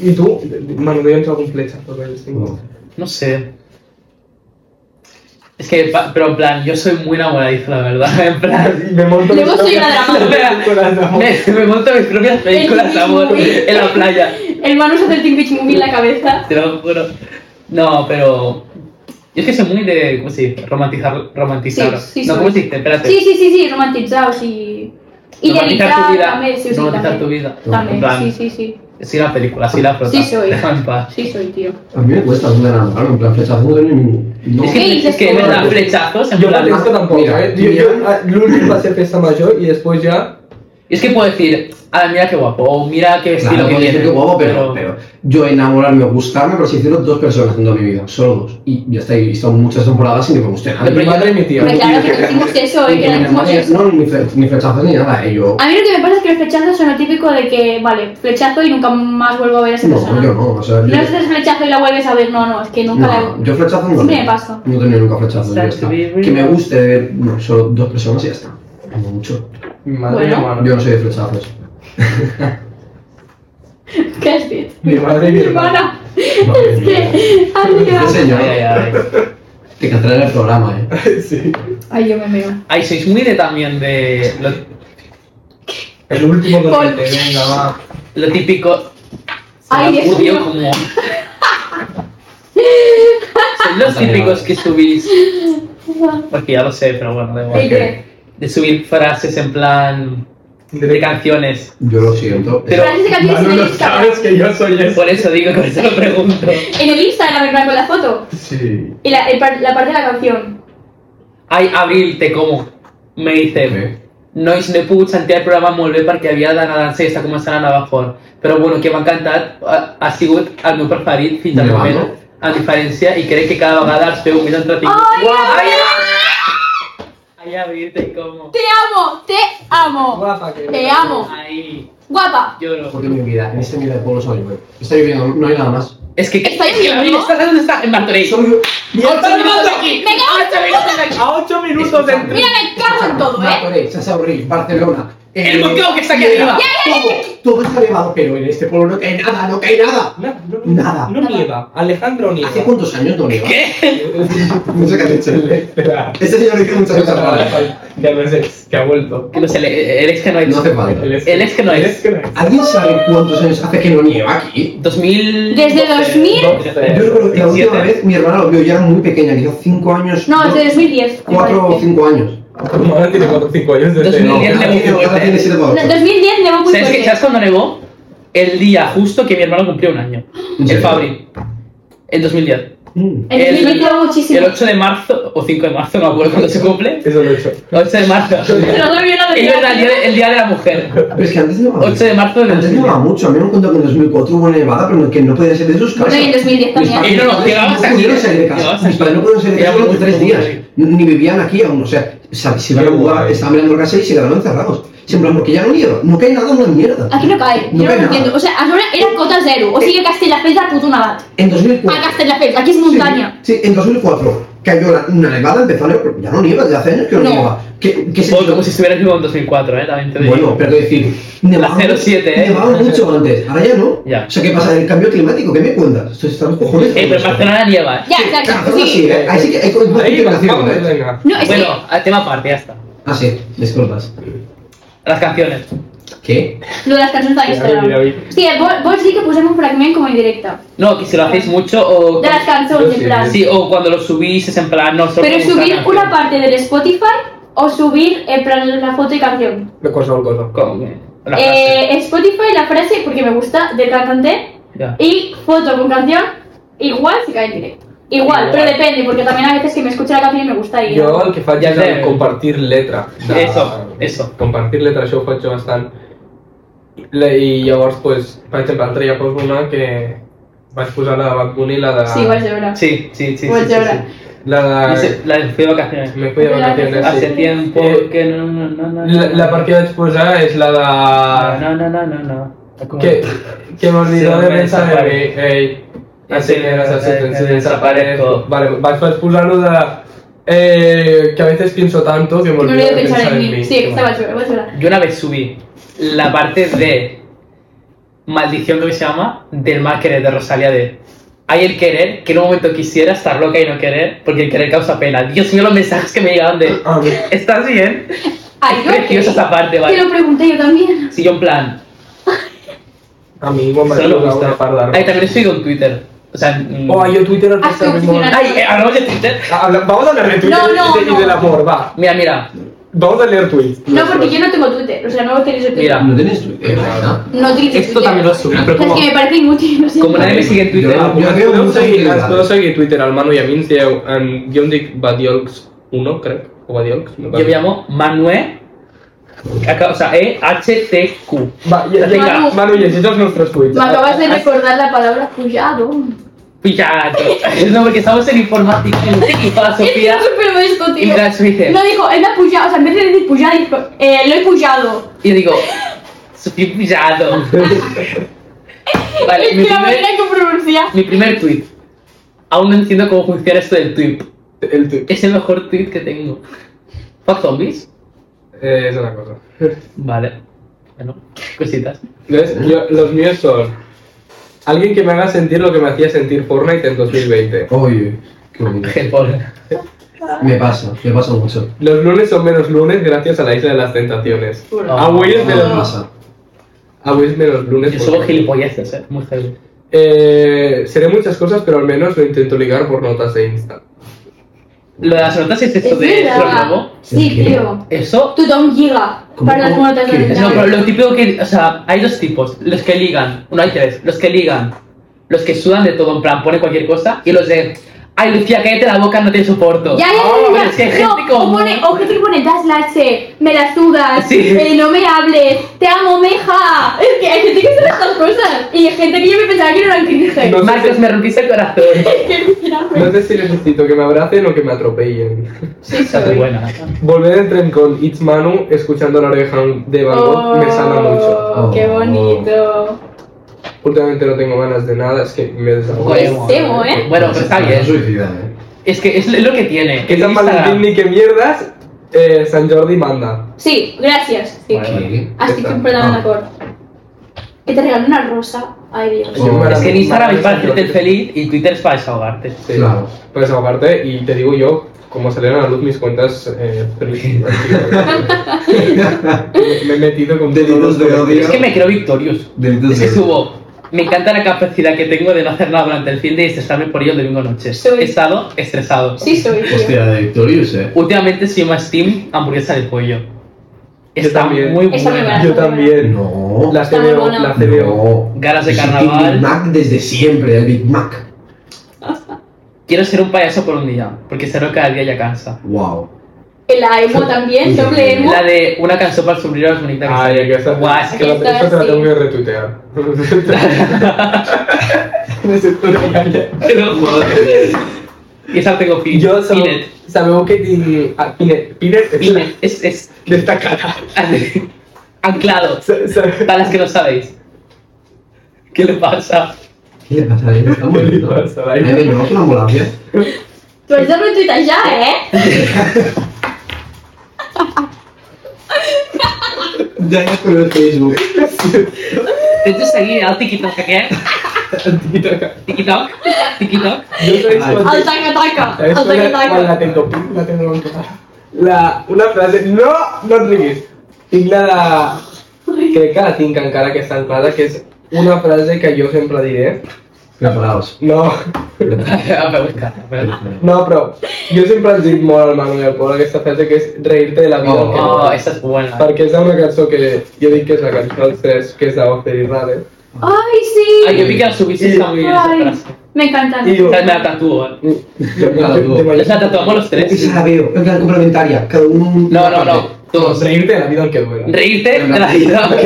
¿Y tú? Manu, yo entro con flecha. Porque yo estoy-
Oh.
No sé. Es que, pa- pero en plan, yo soy muy enamoradizo, la verdad. En plan,
Y Me monto.
Luego soy la
me, me monto mis propias películas de amor
El-
en la playa.
El Manu se hace el Team Beach Movie en la cabeza.
Te lo juro. No, pero. Yo es que soy muy de. ¿Cómo se dice? Romantizar. romantizar.
Sí, sí,
no,
sí.
¿cómo se dice? Espérate.
Sí, sí, sí, sí, romantizados y. Y
romantizar tu
delicado
vida.
también, sí, sí,
romantizar
también.
tu vida. En
También,
plan, ah.
sí, sí, sí.
Sí, la película, sí, la flota.
Sí, soy.
Déjame en paz.
Sí, soy tío.
A mí me cuesta un enamorarme. En plan, flechazo no tengo ni. No.
Es
¿Qué
que,
dices
es que
tú?
me dan flechazos en
Yo
plan.
no esto tampoco,
Mira,
¿eh? Yo, yo,
mira.
ah, Lunes va a ser fiesta mayor y después ya.
Y es que puedo decir, ah, mira qué guapo, o mira qué vestido
Claro,
que
puedo decir
tiene,
que guapo, pero, pero yo enamorarme o gustarme, por así decirlo, dos personas en toda mi vida, solo dos. Y ya está, y he estado muchas temporadas sin que me guste
A mi
nadie.
madre y mi tía.
Hombre, claro que no hicimos eso, eh, que no Ah, hicimos eso.
No, ni, fle- ni flechazos ni nada, eh, yo.
A mí lo que me pasa es que los flechazos son lo típico de que, vale, flechazo y nunca más vuelvo a ver a esa persona.
No, yo no, o sea, yo.
No es el flechazo y la vuelves a ver, no, no, es que nunca
no,
la.
yo flechazo no.
Sí,
tengo.
me paso.
No he tenido nunca flechazo, ya
Sad
está.
to be real.
Que me guste no, solo dos personas y ya está. Como mucho.
Mi madre y mi
Bueno.
hermano.
Yo no soy de flechazos.
¿Qué has dicho?
Mi madre y mi
Mi
hermano.
hermana. Es que. Arriba.
Este señor
Ay, ay, ay.
te cantará en el programa, eh.
Sí.
Ay, yo me meo.
Ay, sois muy de también de lo,
El último
Pol.
donde te venga, va.
lo típico.
Ay, Dios
Uy, yo
mío.
como. Sois los típicos que subís. Porque ya lo sé, pero bueno, da
¿De
igual.
qué?
De subir frases en plan. de
Directo.
canciones.
Yo lo siento.
Pero-
Frases de canciones en el
Manolo,
Instagram.
sabes que yo soy eso.
Por eso digo que por eso lo pregunto.
En el Instagram, en plan, con la foto.
Sí.
Y la, el par- la parte de la canción.
Ay, Abril, te como. Me dice.
¿Qué?
no és n'he pogut sentir el programa molt bé perquè havia d'anar a dansa i està començant a anar fort. Però bueno, que m'ha encantat, ha, ha sigut el meu preferit fins al
Nevado?
moment, a diferència, i crec que cada vegada els feu més entretinguts.
¡Ay, ay,
Ai, a veure, com...
te amo! ¡Te amo!
Guapa que
¡Te amo!
Ai,
¡Guapa!
lloro.
Porque mi vida, en esta mierda de pueblo solo llueve. Está lloviendo, no hay nada más.
És que...
Està
és que
llorando?
Gabriel, ¿Estás dónde está? En Martorell.
Solo llueve.
¡Ocho minutos aquí!
Venga,
¡Ocho minutos aquí!
A 8 minutos de
Mira, me cago en todo, ¿eh?
Martorell, Sasaurri, Barcelona.
El
eh,
volcán que está aquí
nieva,
arriba.
Todo, todo está nevado, pero en este pueblo no cae nada, no cae nada.
No, no,
Nada.
No nieva. Alejandro nieva.
¿Hace cuántos años no nieva?
¿Qué?
No sé qué ha dicho el Este señor dice muchas cosas raras.
Ya no es ex, que ha vuelto.
Que no sé, el, el ex que no ha
No
hecho.
hace falta.
El ex,
El ex que no
El
es.
ex que no es.
¿Alguien sabe cuántos años hace que no nieva aquí?
2000...
Desde 2000.
Yo recuerdo que la última
17.
vez mi hermana lo vio ya muy pequeña, quizás 5 años.
No, es de
dos-
2010. me
cuatro o
parece.
5 años.
Tu madre tiene 4 o 5 años desde...
2010.
Ahora tiene- ahora tiene siete para
No,
ocho.
2010 nevó muy
¿Sabes, qué-
fuerte.
¿Sabes cuándo nevó? El día justo que mi hermano cumplió un año.
¿En
El
serio?
Fabri. En 2010.
Mm,
En 2010 nevó muchísimo.
El 8 de marzo, o 5 de marzo, no me acuerdo cuándo se cumple.
Eso lo he hecho.
8 de marzo.
Pero no había nada de
Y yo era el día,
nevado.
de, el día de la mujer.
Pero es que antes nevaba.
8 de marzo de
Antes
2010.
nevaba mucho. A mí me contó que en 2004 hubo una nevada, pero que no podía ser de sus
Bueno,
casas.
y en 2010
Mis
también.
padres
Y no, no,
no
llegabas aquí,
pudieron salir de
llegabas
casa. Mis
aquí.
padres no pudieron salir de
Era
casa durante
muy
tres días.
difícil.
Ni vivían aquí aún. O sea, se se iban a
Qué
mudar,
guay.
estaban en la casa y se quedaron encerrados. Siempre, porque ya no nieva. No cae nada, una mierda.
Aquí no cae, yo
No
no
cae
lo
nada.
entiendo. O sea, a sobre era cota cero. O sigui que Castelldefels era puto nevat.
En 2004.
A Castelldefels, aquí es montaña.
Sí, sí, en 2004 cayó la- una nevada, empezó a nevar, pero ya no nieva, desde hace años que no,
No.
nieva. ¿Qué, qué se
O como si estuvieras vivo en 2004, ¿eh? También te digo.
Bueno, pero quiero decir, nevaba,
La 07, ¿eh?
nevaba mucho antes, ahora ya no.
Ya.
O sea, ¿qué pasa? ¿El cambio climático? ¿Qué me cuentas? Esto está los cojones.
Eh, pero en Barcelona nieva. ¿eh?
Ya,
Claro,
exacto,
sí.
sí.
eh, ahí sí que hay más
Ahí va,
integración,
vamos,
¿eh?
venga.
No, es que...
Bueno, a tema aparte, ya está.
Ah, sí, disculpas.
Las canciones.
¿Qué?
Lo de las cançons de
Mira, mira,
l'Instagram.
mira.
Hòstia, vol, vols dir que posem un fragment com a indirecte?
No, que si lo hacéis mucho o...
De las
Yo
cançons,
sí.
en plan.
Sí, o cuando lo subís es en plan, no, solo
Pero
me gusta la
subir
canción.
una parte del Spotify o subir en plan la foto y canción.
Me cosa un cosa.
Con la frase.
Eh, Spotify, la frase, porque me gusta, del cantante.
Ya.
Y foto con canción, igual si cae en directo.
Igual.
Igual, pero depende, porque también a veces que me escucha la canción y me gusta y...
Jo el que faig
Ja
és
sé.
el compartir letra. De-
Eso, eso.
Compartir letra, això ho faig jo bastant. Le- I llavors, pues, per exemple, l'altre dia poso una que vaig posar la de Bad Bunny, la de...
Sí, vaig veure.
Sí, sí, sí. sí,
Voy a
sí, sí.
llorar.
La
No
de...
sé, la de fui de vacaciones.
Me fui de vacaciones,
Hace
Ah, sí.
tiempo
Eh,
que no, no, no, no.
La, la part que vaig posar és la de...
No, no, no, no, no.
Que, que me olvidó
Sí,
de
me
pensar en
desaparezco.
mi, ey, así me desaparezco, así me desaparezco. Vale, vas vas a expulsarlo de la- eh, que a veces pienso tanto que me
No
olvido
voy
de
a pensar en mí. Sí,
Vale.
esta vaig veure, vaig veure.
Yo una vez subí la parte de Maldición, creo que se llama, del mal querer de Rosalía de. Hay el querer, que en un momento quisiera estar loca y no querer, porque el querer causa pena. Dios mío, los mensajes que me llegaban de.
Ah, bien.
¿Estás bien?
Ay,
es
yo
preciosa esa parte,
Te lo
¿vale?
pregunté yo también.
Si yo en plan,
A mí igual me
solo me
ayuda una
gusta.
parda.
Ay, también estoy con Twitter. O sea, mm,
Oh, yo Twitter
Ah, sí,
también
sí,
mola.
sí,
Ay, eh, hablamos de Twitter.
Ah, habla- Vamos a leer Twitter
No, no,
y, de- y
no.
del amor, va.
Mira, mira,
Vamos a leer tweets.
No, porque yo no tengo Twitter, o sea, no utilizo Twitter.
Mira.
¿No tienes tu- eh, nada?
No utilizo
esto
Twitter.
también lo subí, pero
Es
como,
que me parece inútil, no sé.
como nadie me sigue en Twitter,
Yo-
Eh, Yo
veo
podeu
muchas
seguir, ens
utilidades.
podeu seguir Twitter al Manu i a mi, ens dieu, em- jo em dic Badiolx 1, crec, o Badiolx. no
yo me llamo Manuel, acá, o sea, E E-H-T-Q.
Va, ja, vinga,
Manu.
Manu, llegeix els nostres
Me
tuits.
acabas de recordar la palabra pujado.
Pillato. No, porque estamos en informática y para Sofía.
Es súper modesto,
Y
tío.
tras dice,
No dijo, él me ha pujado, o sea, en vez de decir pujado, dijo, eh, lo he pujado.
y digo, Sofía pues pillado. Vale,
es
mi
que la
primer,
manera que pronuncia.
mi primer tweet. Aún no entiendo cómo funciona esto del tweet.
El tuit.
Es el mejor tweet que tengo. ¿Fuck zombies?
Eh, és una cosa.
Vale. Bueno, cositas.
¿Ves? Yo- los míos son alguien que me haga sentir lo que me hacía sentir Fortnite en 2020.
Oye, qué bonito.
Helpol.
Me pasa, me pasa mucho.
Los lunes son menos lunes gracias a la isla de las tentaciones. Ah,
No.
Avui és
Me
Ah.
menos,
pasa.
avui és menos pues, lunes.
Yo subo
porque-
gilipolleces, eh. Muy heavy.
Eh, seré muchas cosas, pero al menos lo intento ligar por notas de Insta.
Lo de las notas es esto
Es
de
verdad.
lo nuevo.
Sí,
¿Qué?
tío.
Eso.
Tú da un giga
¿Cómo,
para las
cómo?
muertas
¿Qué?
de
Es
No,
lo
pero
verdad.
lo típico que. O sea, hay dos tipos. Los que ligan. No hay tres. Los que ligan. Los que sudan de todo, en plan, pone cualquier cosa. Y los de. Ay, Lucía, cállate la boca, no te soporto.
Ya, ya, ya,
Oh,
ya,
pero
ya.
es que hay gente
no,
como-
o, pone, o gente que pone das la H, me la sudas,
Sí.
eh, no me hables, te amo, meja. Es que hay gente que hace estas cosas. Y hay gente que yo me pensaba que no eran cringe.
No.
Marcos, me rompiste el corazón.
No sé si necesito que me abracen o que me atropellen.
Sí,
Esa es
soy.
buena.
Volver en tren con It's Manu escuchando la oreja de Van Gogh me sana mucho.
Oh, Qué
Oh.
bonito.
Últimamente no tengo ganas de nada, es que me desahogo.
Joder,
Pues temo, ¿eh?
Bueno, pero está bien.
suicida, ¿eh?
Es que es lo que tiene.
¿Qué
el
tan
Instagram.
Valentín ni qué mierdas? Eh, San Jordi manda.
Sí, gracias. Sí.
Vale, vale.
Así que
Está.
completamente de
Ah.
acuerdo. Que te regalen una rosa. Ay, Dios.
Oh.
Yo me
Es que en
mando
Instagram es para
San Jordi.
hacerte feliz y Twitter es para desahogarte.
Sí,
Claro.
Pues aparte, y te digo yo, como salieron a la luz mis cuentas, eh, pri- me, me he metido con
Delitos
todos los
de odio.
comentarios.
Es que me creo victorioso.
Delitos
Es que
de-
subo. Me encanta la capacidad que tengo de no hacer nada durante el fin de y estresarme por ello el domingo noche.
Soy-
He estado estresado.
Sí, soy. tío.
Hostia, de Victorious, eh.
Últimamente soy más team hamburguesa de pollo.
Yo
Está muy
también.
buena.
Está muy buena.
Yo también.
No.
La
Está
CBO,
muy buena.
la CBO.
No.
Ganas de
Yo soy Team
carnaval.
Big Mac desde siempre, el Big Mac.
Quiero ser un payaso por un día, porque ser cada día ya cansa.
Wow.
La emo también, doble emo.
La de una canción para el sombrero es bonita. que
Ay,
sale.
aquí está.
Guau, es
Ah, que
que
la-
Está
esta te la
así.
tengo que retuitear. Necesito una caña.
te lo juro. Y esa tengo fin.
Yo sab-
Pinet.
sabeu que tinc... Ah, Pinet. Pinet és la-
Pinet. Es, es
destacada.
anclado.
Sa- sa-
Para las que no sabéis. ¿Qué le pasa?
¿Qué le pasa a él? Está
Què li
bonito.
passa,
Eh,
Laia?
venga, vamos a una ambulancia.
Tú eres de retuitas ya, ¿eh?
Ya ya con el Facebook.
¿Te hecho seguir al TikTok qué? TikTok. TikTok.
Jo sabeu quan-
Al taca taca.
sabeu
Al
quan
taca
la- quan la
taca.
tengo pin, la tengo encara. La, una frase... No, no et riguis. Tinc la de... Crec que la tinc encara, que està anclada, que és una frase que jo sempre diré.
Preparaos.
No,
A ver, buscar. a ver.
no, però jo sempre ens dic molt al Manu i al Pol aquesta frase que és reir-te de la vida.
Oh,
que
Oh,
no.
esa es buena.
Perquè és una cançó que jo dic que és la cançó dels tres, que és d'Ofer i Rade.
Ay, sí.
Ay, yo vi que la subiste y está muy bien esa
Ay,
frase.
me encantan.
I jo...
O sea, me la tatúo. ¿eh?
Jo, jo, jo,
O sea, tatuamos los tres.
Esa la veo, en plan complementaria. Cada uno. un-
No, no, no. Todos.
Reírte de la vida aunque duela.
Reírte de la vida.
Nos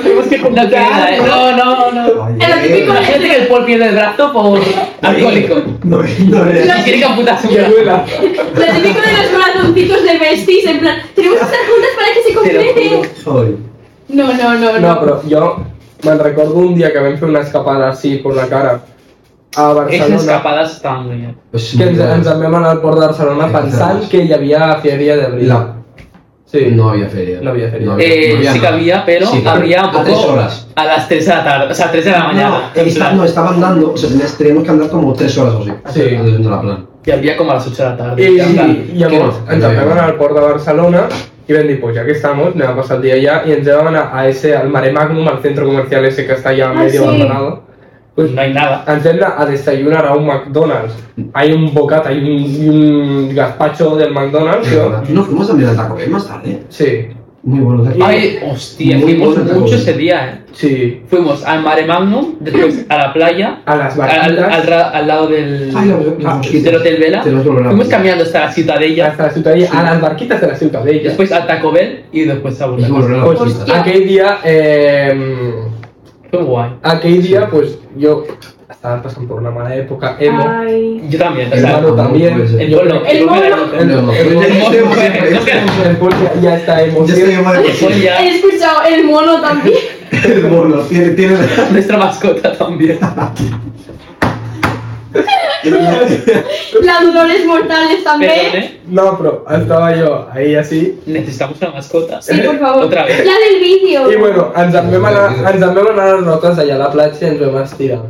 tenemos que
No, queda,
juntar.
¿eh? no, no, no.
Ay,
Es lo
eh.
típico
La gente que el Paul pierde el brazo por alcohólico.
No, no, no.
Y Tiene que amputarse un
Que
brazo.
duela.
Lo típico de los corazoncitos de besties, en plan, tenemos que estar juntas para que se
Te lo juro.
complete.
Ay.
No, no, no,
No,
no.
però jo me'n recordo un dia que vam fer una escapada així por la cara a
Esas
Barcelona
escapadas están muy bien.
Pues,
que ens, ens en vam anar al port de Barcelona
Exacte.
pensant que hi havia fieria d'abril.
La-
Sí.
No había feria.
No había feria.
Eh, sí que
nada.
había, pero
Sí,
había un
A tres
poco
horas.
a las 3 de la tarde, o sea, 3 de la mañana.
No, eh, está- no, estaban dando, o sea, tenías- teníamos que andar como tres horas o así.
Sí.
Antes de la plan.
Y había como a las 8 de la tarde.
I,
Ya está.
I llavors
Què no?
ens en vam anar al port de Barcelona i vam dir, pues ja que estamos, anem a passar el dia allà i ens vam anar a ese, al Mare Magnum, al centro comercial ese que està allà
Ah,
medio
sí.
abandonado. Pues,
No hay nada.
Ens hem a desayunar a un McDonald's. Hay un bocata y un, y un gazpacho del McDonald's. Yo.
¿Y no fuimos también al Taco Bell más tarde?
Sí,
Muy bueno. Taco Bell.
Ay, hostia,
Muy
fuimos
bueno,
mucho
Raúl.
ese día, eh.
sí.
Fuimos al Mare Magnum, después a la playa,
A las
al,
barquitas.
al ra- al lado del,
Ay, los- los
Ah,
mosquitos.
del Hotel Vela.
Tenemos que volver a-
Fuimos caminando hasta la ciudadella,
hasta la ciutadella, a las barquitas de la ciutadella.
después a Taco Bell y después a
Hay que
Burger.
volver a la
pues,
fiesta.
Hostia.
aquell dia, eh,
Fue guay.
aquell dia, pues, jo estava passant per una mala època,
eh,
emo,
Ay.
Yo también, o
el
sea,
Manu
Claro,
també,
puede ser.
el
el pueblo.
Polo-
El mono.
el-
No, no.
el-
El mono,
el-
siempre, siempre.
el Polo ja està emo,
Yo estoy
sí.
en mala
El Paul ya,
He escuchado el mono también.
El mono, tiene, tiene.
nuestra mascota también.
Las dolores mortales
Perdón,
también.
¿eh?
No, pero estaba yo ahí así.
Necesitamos una mascota.
Sí, por favor.
Otra vez.
La del vídeo.
I bueno, ens en vam anar, ens en vam anar nosaltres allà a la platja i ens vam estirar.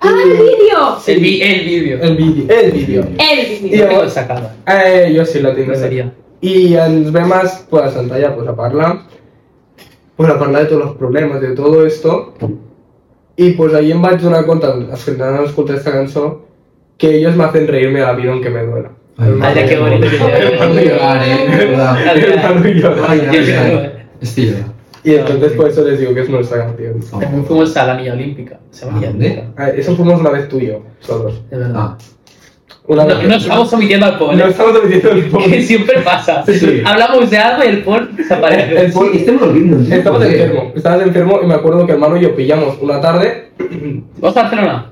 Ah,
eh,
el vídeo.
El, vi- el vídeo.
El vídeo, el vídeo.
El
Y
vídeo.
lo tengo sacado.
Eh, jo sí la tinc.
Debería.
I ens vam as- pues, sentar allà pues, a parlar, pues, a parlar de tots els problemes, de tot esto. I pues, ahir em vaig donar compte, escoltant escoltar aquesta cançó, que ellos me hacen reírme a la vida aunque me duela.
Vaya, qué bonito que te
Para no llorar, eh. de verdad.
El Manu llora.
Ay,
Yo
ay,
lloro,
ay.
eh.
Estoy llorando.
Y entonces por eso les digo que es nuestra canción.
También fuimos a la Milla Olímpica. Se llama Milla
¿A dónde?
Olímpica.
Ah, Eso fuimos una vez tú y yo, solos.
De verdad.
Ah,
Una
no,
vez.
no estamos omitiendo al
No
pobre.
estamos omitiendo el
que
pobre.
siempre pasa.
Sí.
Hablamos de algo y el por desaparece.
El-
sí, estamos volviendo. ¿sí?
Estabas
Porque-
enfermo, estabas enfermo y me acuerdo que hermano y yo pillamos una tarde.
¿Vos a Barcelona?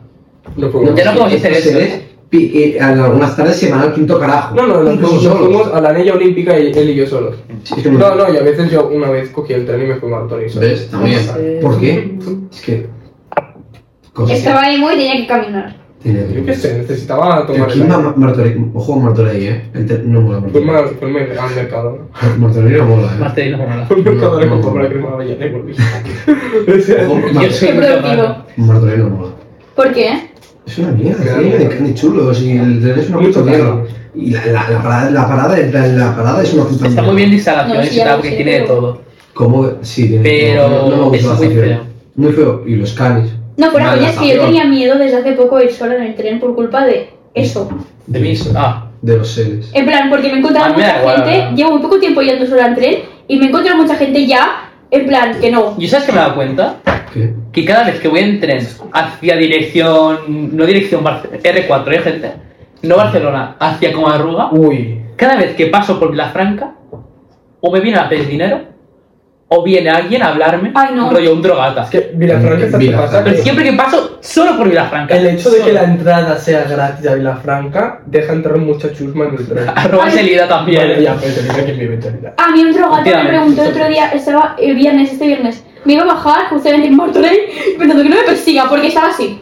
Nos
No,
fuimos.
Ya no podemos hacer
entonces
eso.
eres pi- eh, a la- unas tardes se van al quinto carajo.
No, no, nos
Incluso
fuimos, nos
solos.
fuimos a la anilla olímpica y él y yo solos.
Sí, es que
No, no, y a veces yo una vez cogí el tren y me fui a Antonio solo.
¿Ves? También. ¿Por qué? Es que. Cosas que-
Estaba emo y tenía que caminar.
Tiene-
Yo qué sé, necesitaba
Pero
tomar
¿Quién
el
va a
aire.
Ma- Martorell? Ojo a Martorell, eh. El te- No mola
Fui
Martorell.
mal- fui mal al mercado.
Pues
¿no?
Martorell no mola, eh.
Martelino Morala.
Fui al mercado le compré una crema de avellana y volví. O sea,
Ojo,
Yo
Mar-
soy
Qué
muy
productivo.
raro.
Martorell no mola.
¿Por qué?
Es una mierda,
Claro.
tiene de carne chulos y el tren es una
Mucho
puta mierda.
claro.
Y la, la, la parada, la, parada, en plan, la parada es una puta
Está muy bien de instalación
No,
y
sí, ya
tal,
lo
porque
sé,
tiene de
pero-
todo.
¿Cómo? Sí, tiene-
Pero es
la
muy
estación.
feo.
Muy feo. Y los canis.
No, fuera
Mal,
coña,
la
es que yo
estación.
tenía miedo desde hace poco de ir sola en el tren por culpa de eso.
De mí, ah.
De los seres.
En plan, porque me he
A
encontrado
mí me da
mucha
igual, la
gente,
verdad.
llevo muy poco tiempo yendo sola en tren y me he encontrado mucha gente ya, en plan, que no.
¿Y sabes que me he dado cuenta?
¿Qué?
Que cada vez que voy en tren hacia dirección. No dirección Barce- R4, ¿eh, gente? No Barcelona, hacia Comarruga.
Uy.
Cada vez que paso por Vilafranca, o me viene a pedir dinero, o viene alguien a hablarme.
Ay, no.
Rollo un drogata.
Es que Vilafranca está
Vilafranca.
pasa
Pero
que
siempre que paso, solo por Vilafranca.
el hecho de que
Solo.
la entrada sea gratis a Vilafranca deja entrar mucha chusma en el tren.
A robarse el ida también.
Vale, ya, pero mira que es mi mentalidad.
A mí un drogato me
Efectivamente.
preguntó el otro día, estaba el viernes, este viernes, me iba a bajar justamente en Martorell pensando que no me persiga porque estaba así.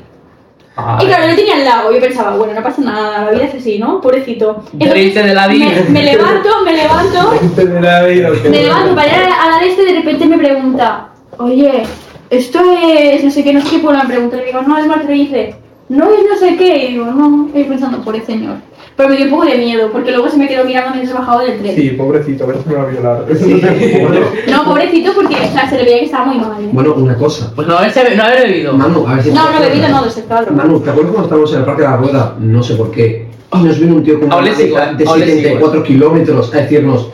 Ay.
Y claro, yo tenía al lado, yo pensaba, bueno, no pasa nada, la vida es así, ¿no? Pobrecito.
Reírte de la vida.
Me, me levanto, me levanto,
Gente de la vida, que
me
no-
levanto para ir a la- a la de este y de repente me pregunta, oye, esto es no sé qué, no sé qué, pues me pregunta, le digo, no, es Martorell, y dice, no es no sé qué, y digo, no, y pensando, pobre señor. Pero me dio un poco de miedo, porque luego se me quedó mirando mientras bajaba del tren.
Sí, pobrecito, a ver si me va a violar.
No, pobrecito, porque o sea, se le veía que estaba muy mal. ¿eh?
Bueno, una cosa.
Pues no haber, no haber bebido.
Manu, a ver si.
No, no, bebido no, desecado.
Manu, ¿te acuerdas cuando estábamos en el Parque de la Rueda? No sé por qué. Y nos vino un tío con una
Aún le sigo,
maleta de
aún le sigo.
74 kilómetros a decirnos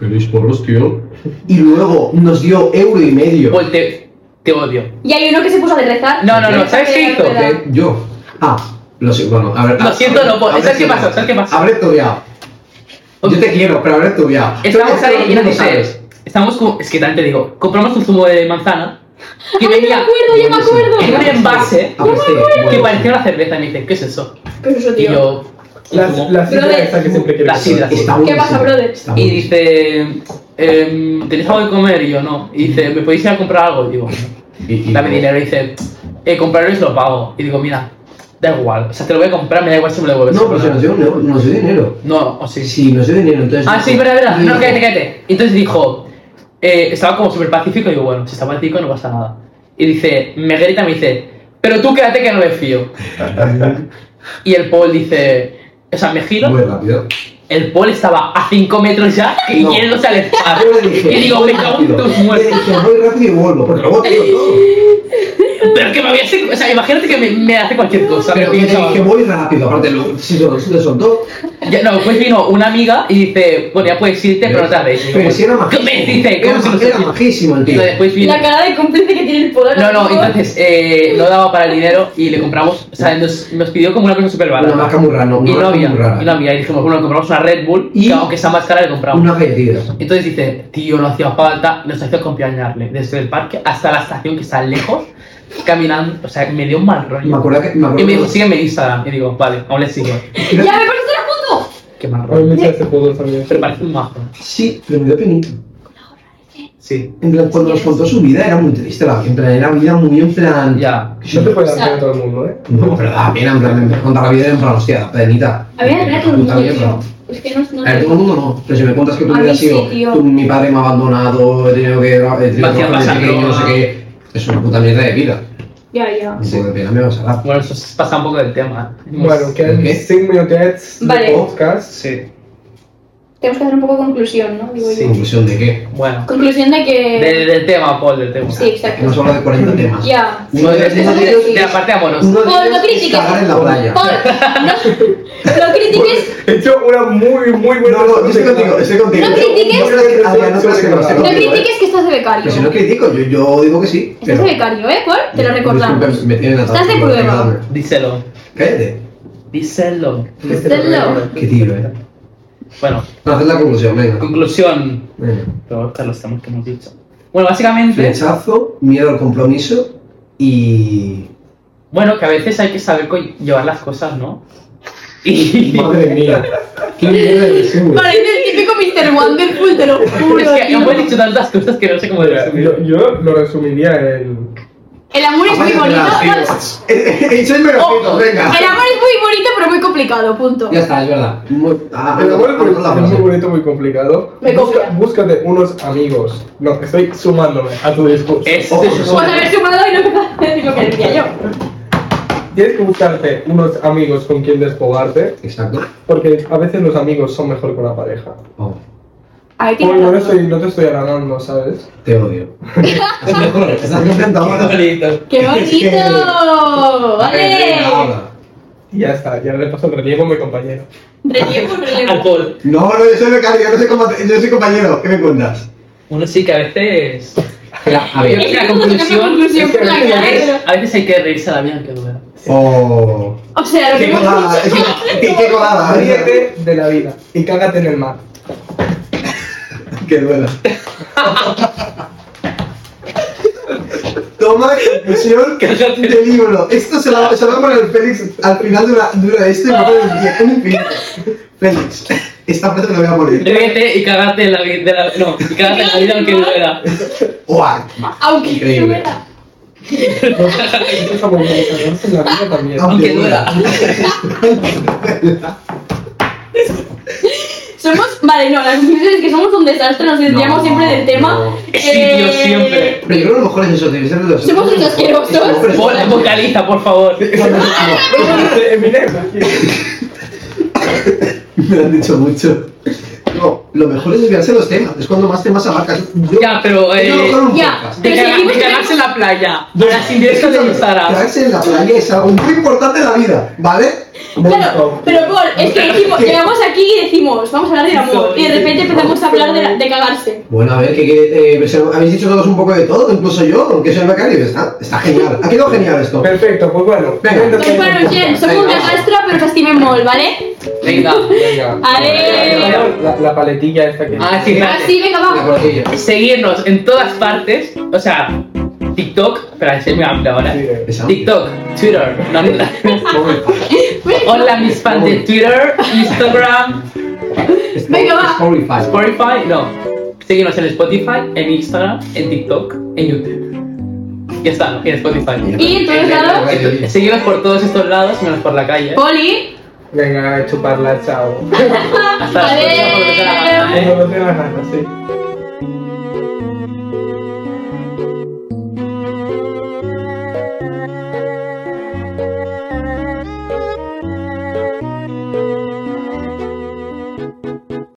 ¿Queréis porros, tío? Y luego nos dio euro y medio.
Pues te, te odio.
Y hay uno que se puso a rezar.
No, no, no, ¿sabes qué hizo?
¿Qué? Yo. Ah, lo siento, bueno, a ver.
Lo
ah,
siento, no puedo.
habré
¿Sabes qué
estudiado.
pasó? ¿Sabes qué pasó?
Habré estudiado. Yo te quiero, pero habré estudiado.
Estamos
Tú-
ahí
tú
y
no
no
sabes.
sabes. Estamos como. Es que también te digo, compramos un zumo de manzana que
Ay, me
venía
acuerdo, ya me
buenísimo.
acuerdo.
en un envase
Ah, pues sí,
que
bueno.
parecía una cerveza. Y me dice, ¿qué es eso?
¿Qué es eso,
Y
tío?
yo.
La,
zumo.
la sidra
Brother.
esa que siempre quiere
La sidra.
Está
¿Qué pasa,
buenísimo.
brother?
Está
Y
buenísimo.
dice, em, ¿tenéis algo que comer? Y yo, no. Y dice, ¿me podéis ir a comprar algo? Y digo,
Y- y-
dame dinero. Y dice, eh, comprarlo y se lo pago. Y digo, mira, da igual. O sea, te lo voy a comprar, me da igual si me lo devuelves.
No, pero si nos dio, no, nos dio dinero.
No, o sí.
Si nos dio dinero, entonces.
Ah, sí, verdad, verdad. No,
Dijo,
cállate, cállate. Entonces dijo, eh, estaba como súper pacífico y digo, bueno, si está pacífico no pasa nada. Y dice, me grita, me dice, pero tú quédate que no me fío. y el Paul dice, o sea, me giro,
Muy rápido.
el Paul estaba a 5 metros ya y
No.
yéndose al espacio.
Yo le dije.
Ah, y digo, me
voy
cago en
rápido.
tus
Le
muertos.
dije, voy rápido y vuelvo. Porque luego te digo todo.
Pero que me voy a hacer, o sea, imagínate que me, me hace cualquier cosa.
Pero
me pilla,
yo le dije,
chaval.
voy rápido. Aparte, lo- si se lo si lo soltó.
Ya, no, después vino una amiga y dice, bueno, ya puedes irte, pero no te arregles. Y digo,
Pero si era majísimo.
Me dice,
Era
¿cómo se lo
ma- era
sé?
majísimo el
Y
tío.
después vino...
La cara de cómplice que tiene el poder.
No, no, entonces eh, no daba para el dinero y le compramos, o sea, nos, nos pidió como una cosa súper barata.
Una marca muy rara.
y
una
no
marca
había,
muy
y no
rara.
había, y dijimos, bueno, le compramos una Red Bull
Y-
y aunque sea más cara le compramos.
Unas galletitas.
Entonces dice, tío, no hacía falta, nos hizo acompañarle desde el parque hasta la estación que está lejos, caminando, o sea, me dio un mal
Me
rollo.
acuerdo que. Me
Y
acuerdo
me dijo, sígueme en Instagram. Y digo, vale, aún le sigo.
creo-
¡Ya me pasaste la foto!
Qué mal
A mí
rollo.
me echa ese puto también.
Pero parece un majo.
Sí, pero me dio penito.
Sí,
En plan, cuando nos contó su vida era muy triste. La, en plan, era vida muy en plan.
ya.
No te puede dar pena a todo el mundo, ¿eh?
No, pero da pena, en plan, me empezó a contar la vida en plan, hostia, penita.
A mí me da que un mundo,
Puta mierda.
tío. Es que no, no
A ver, todo el mundo no, pero si me cuentas que tú
A mí
hubieras
sí,
sido,
tío.
tú, mi padre me ha abandonado, he tenido que, he tenido que
Vaciar la
trabajar desde pequeño, no sé
sangre.
qué, es una puta mierda de vida.
Ya, ya.
Un poco de pena me vas a dar.
Bueno, eso es- pasa un poco del tema.
Bueno, quedan
¿Qué?
5 minutets de
Vale.
podcast.
Sí.
Tenemos que hacer un poco de conclusión, ¿no? Digo
Sí.
yo.
¿Conclusión de qué?
Bueno,
Conclusión de que.
de- del tema, Paul, del tema.
Sí, exacto.
Hemos hablado de 40 temas.
Ya.
Uno de ellos
Eso es lo que-
De la parte amorosa.
Uno de
Paul,
ellos
no
es
critiques.
cagar en la playa.
Paul, no. Lo critiques.
He hecho una muy, muy buena.
No, no, yo estoy contigo, estoy contigo.
No critiques.
No creas que- Adrián, no creas que no, estoy
No
contigo, ¿eh?
critiques que estás de becario.
Que si no critico, yo, yo digo que sí.
Estás de becario, ¿eh, Paul? Te lo recordamos.
Disculpen, me tienen atado.
Estás de prueba.
Perdóname.
Díselo.
Cállate.
Díselo.
Díselo.
Qué tiro, eh.
Bueno,
No, haz la conclusión, venga.
conclusión.
Venga.
Pero buscar los temas que hemos dicho. Bueno, básicamente,
Rechazo, miedo al compromiso y.
bueno, que a veces hay que saber co- llevar las cosas, ¿no? Y
Madre mía. Qué mierda de resumen.
Parece el típico Mr. Wonderful, te lo
es
juro.
que
tío.
hemos dicho tantas cosas que no sé cómo
Mira,
resumir.
Yo, yo lo resumiría en.
El amor es muy bonito.
He hecho el
Oh,
megafito,
el
venga.
amor es muy bonito, pero muy complicado, punto.
Ya está, es verdad. Muy- ah,
El amor
ah,
es muy-
ah,
es muy
ah,
bonito, muy complicado.
Me
Busca-
confía.
búscate unos amigos. No, estoy sumándome a tu discurso.
Es,
Ojo,
es-
eso-
Pues haber sumado y no empezar a decir lo que decía yo.
Tienes que buscarte unos amigos con quien despobarte,
Exacto.
porque a veces los amigos son mejor que una pareja.
Oh,
Ahí
Bueno, no,
tienes. razón.
estoy- no te estoy agarrando, ¿sabes?
te odio. es mejor, estás contenta ahora.
bonito.
¡Qué
Es que-
bonito! ¡Vale!
Ahora.
Y ya está, ya le paso el relevo a mi compañero.
Relevo, relevo.
Alcohol.
No, no, yo soy becario, yo soy, compa- yo soy compañero. ¿Qué me cuentas?
Uno sí que a veces.
A
Yo
ver.
creo que
Es
la
como sacar una
conclusión.
conclusión
es que
por la
a, veces,
cara.
a veces hay que reírse a la vida que duela.
Oh.
O sea, lo que
Qué
hemos
colada,
dicho.
qué, qué colada. ¿eh?
Ríete de la vida y cágate en el mar.
Que duela. Toma conclusión del libro. Esto se lo, se lo va a poner el Félix al final de una, de una este y va a poner el día en infinito. Félix, esta frase me la voy a poner.
Ríete y cagate en la vida. de la- No, y cagate en la vida aunque duela.
¡Guau!
Aunque
Increíble.
duela.
Eso está muy bien, cagarse en la vida también.
Ah.
Aunque duela.
Somos. Vale, no, la conclusión es que somos un desastre, nos desviamos
No,
siempre del tema.
no.
Sí, yo
Eh,
siempre.
Pero yo creo que lo mejor es eso, debe ser de los.
Somos unos asquerosos.
Vol- Vocaliza, por favor.
Eminem, aquí.
Me lo han dicho mucho. No, lo mejor es desviarse de los temas. Es cuando más temas abarcas. Yo-
Ya, pero.
es lo
Eh,
mejor un
ya.
podcast.
de,
Pero si
caga-
encima
de cagarse en la playa. De las indirectas de Instagram.
Quedarse en la playa es algo muy importante en la vida, ¿vale?
Claro, pero Paul, es que decimos, llegamos aquí y decimos, vamos a hablar del amor. Y de repente empezamos a hablar de, la- de cagarse.
Bueno, a ver, que, que, eh, pues, habéis dicho todos un poco de todo, incluso yo, aunque soy becario, está, está genial. Ha quedado genial esto.
Perfecto, pues bueno.
Venga.
Doncs, bueno, gent, som un desastre, però us estimem molt, vale?
Venga.
Venga.
Adeu.
La, la paletilla esta que.
Ah, sí,
Ah,
gracias.
sí, vinga,
La
va.
coletilla.
seguirnos en todas partes, o sea, TikTok, espera, es muy amplio ahora.
Sí, eh.
Esa.
TikTok, Twitter, no, no, hola mis fans de Twitter, Instagram,
Venga, va.
Spotify.
Spotify, no. Síguenos en Spotify, en Instagram, en TikTok, en YouTube. Ya está, ¿no? Y en Spotify.
I en tots lados,
Síguenos por todos estos lados, menos por la calle.
Poli,
Venga, chuparla, chao.
Hasta la próxima, por lo que sea, ¿eh?
Cuando no tengas ganas, sí.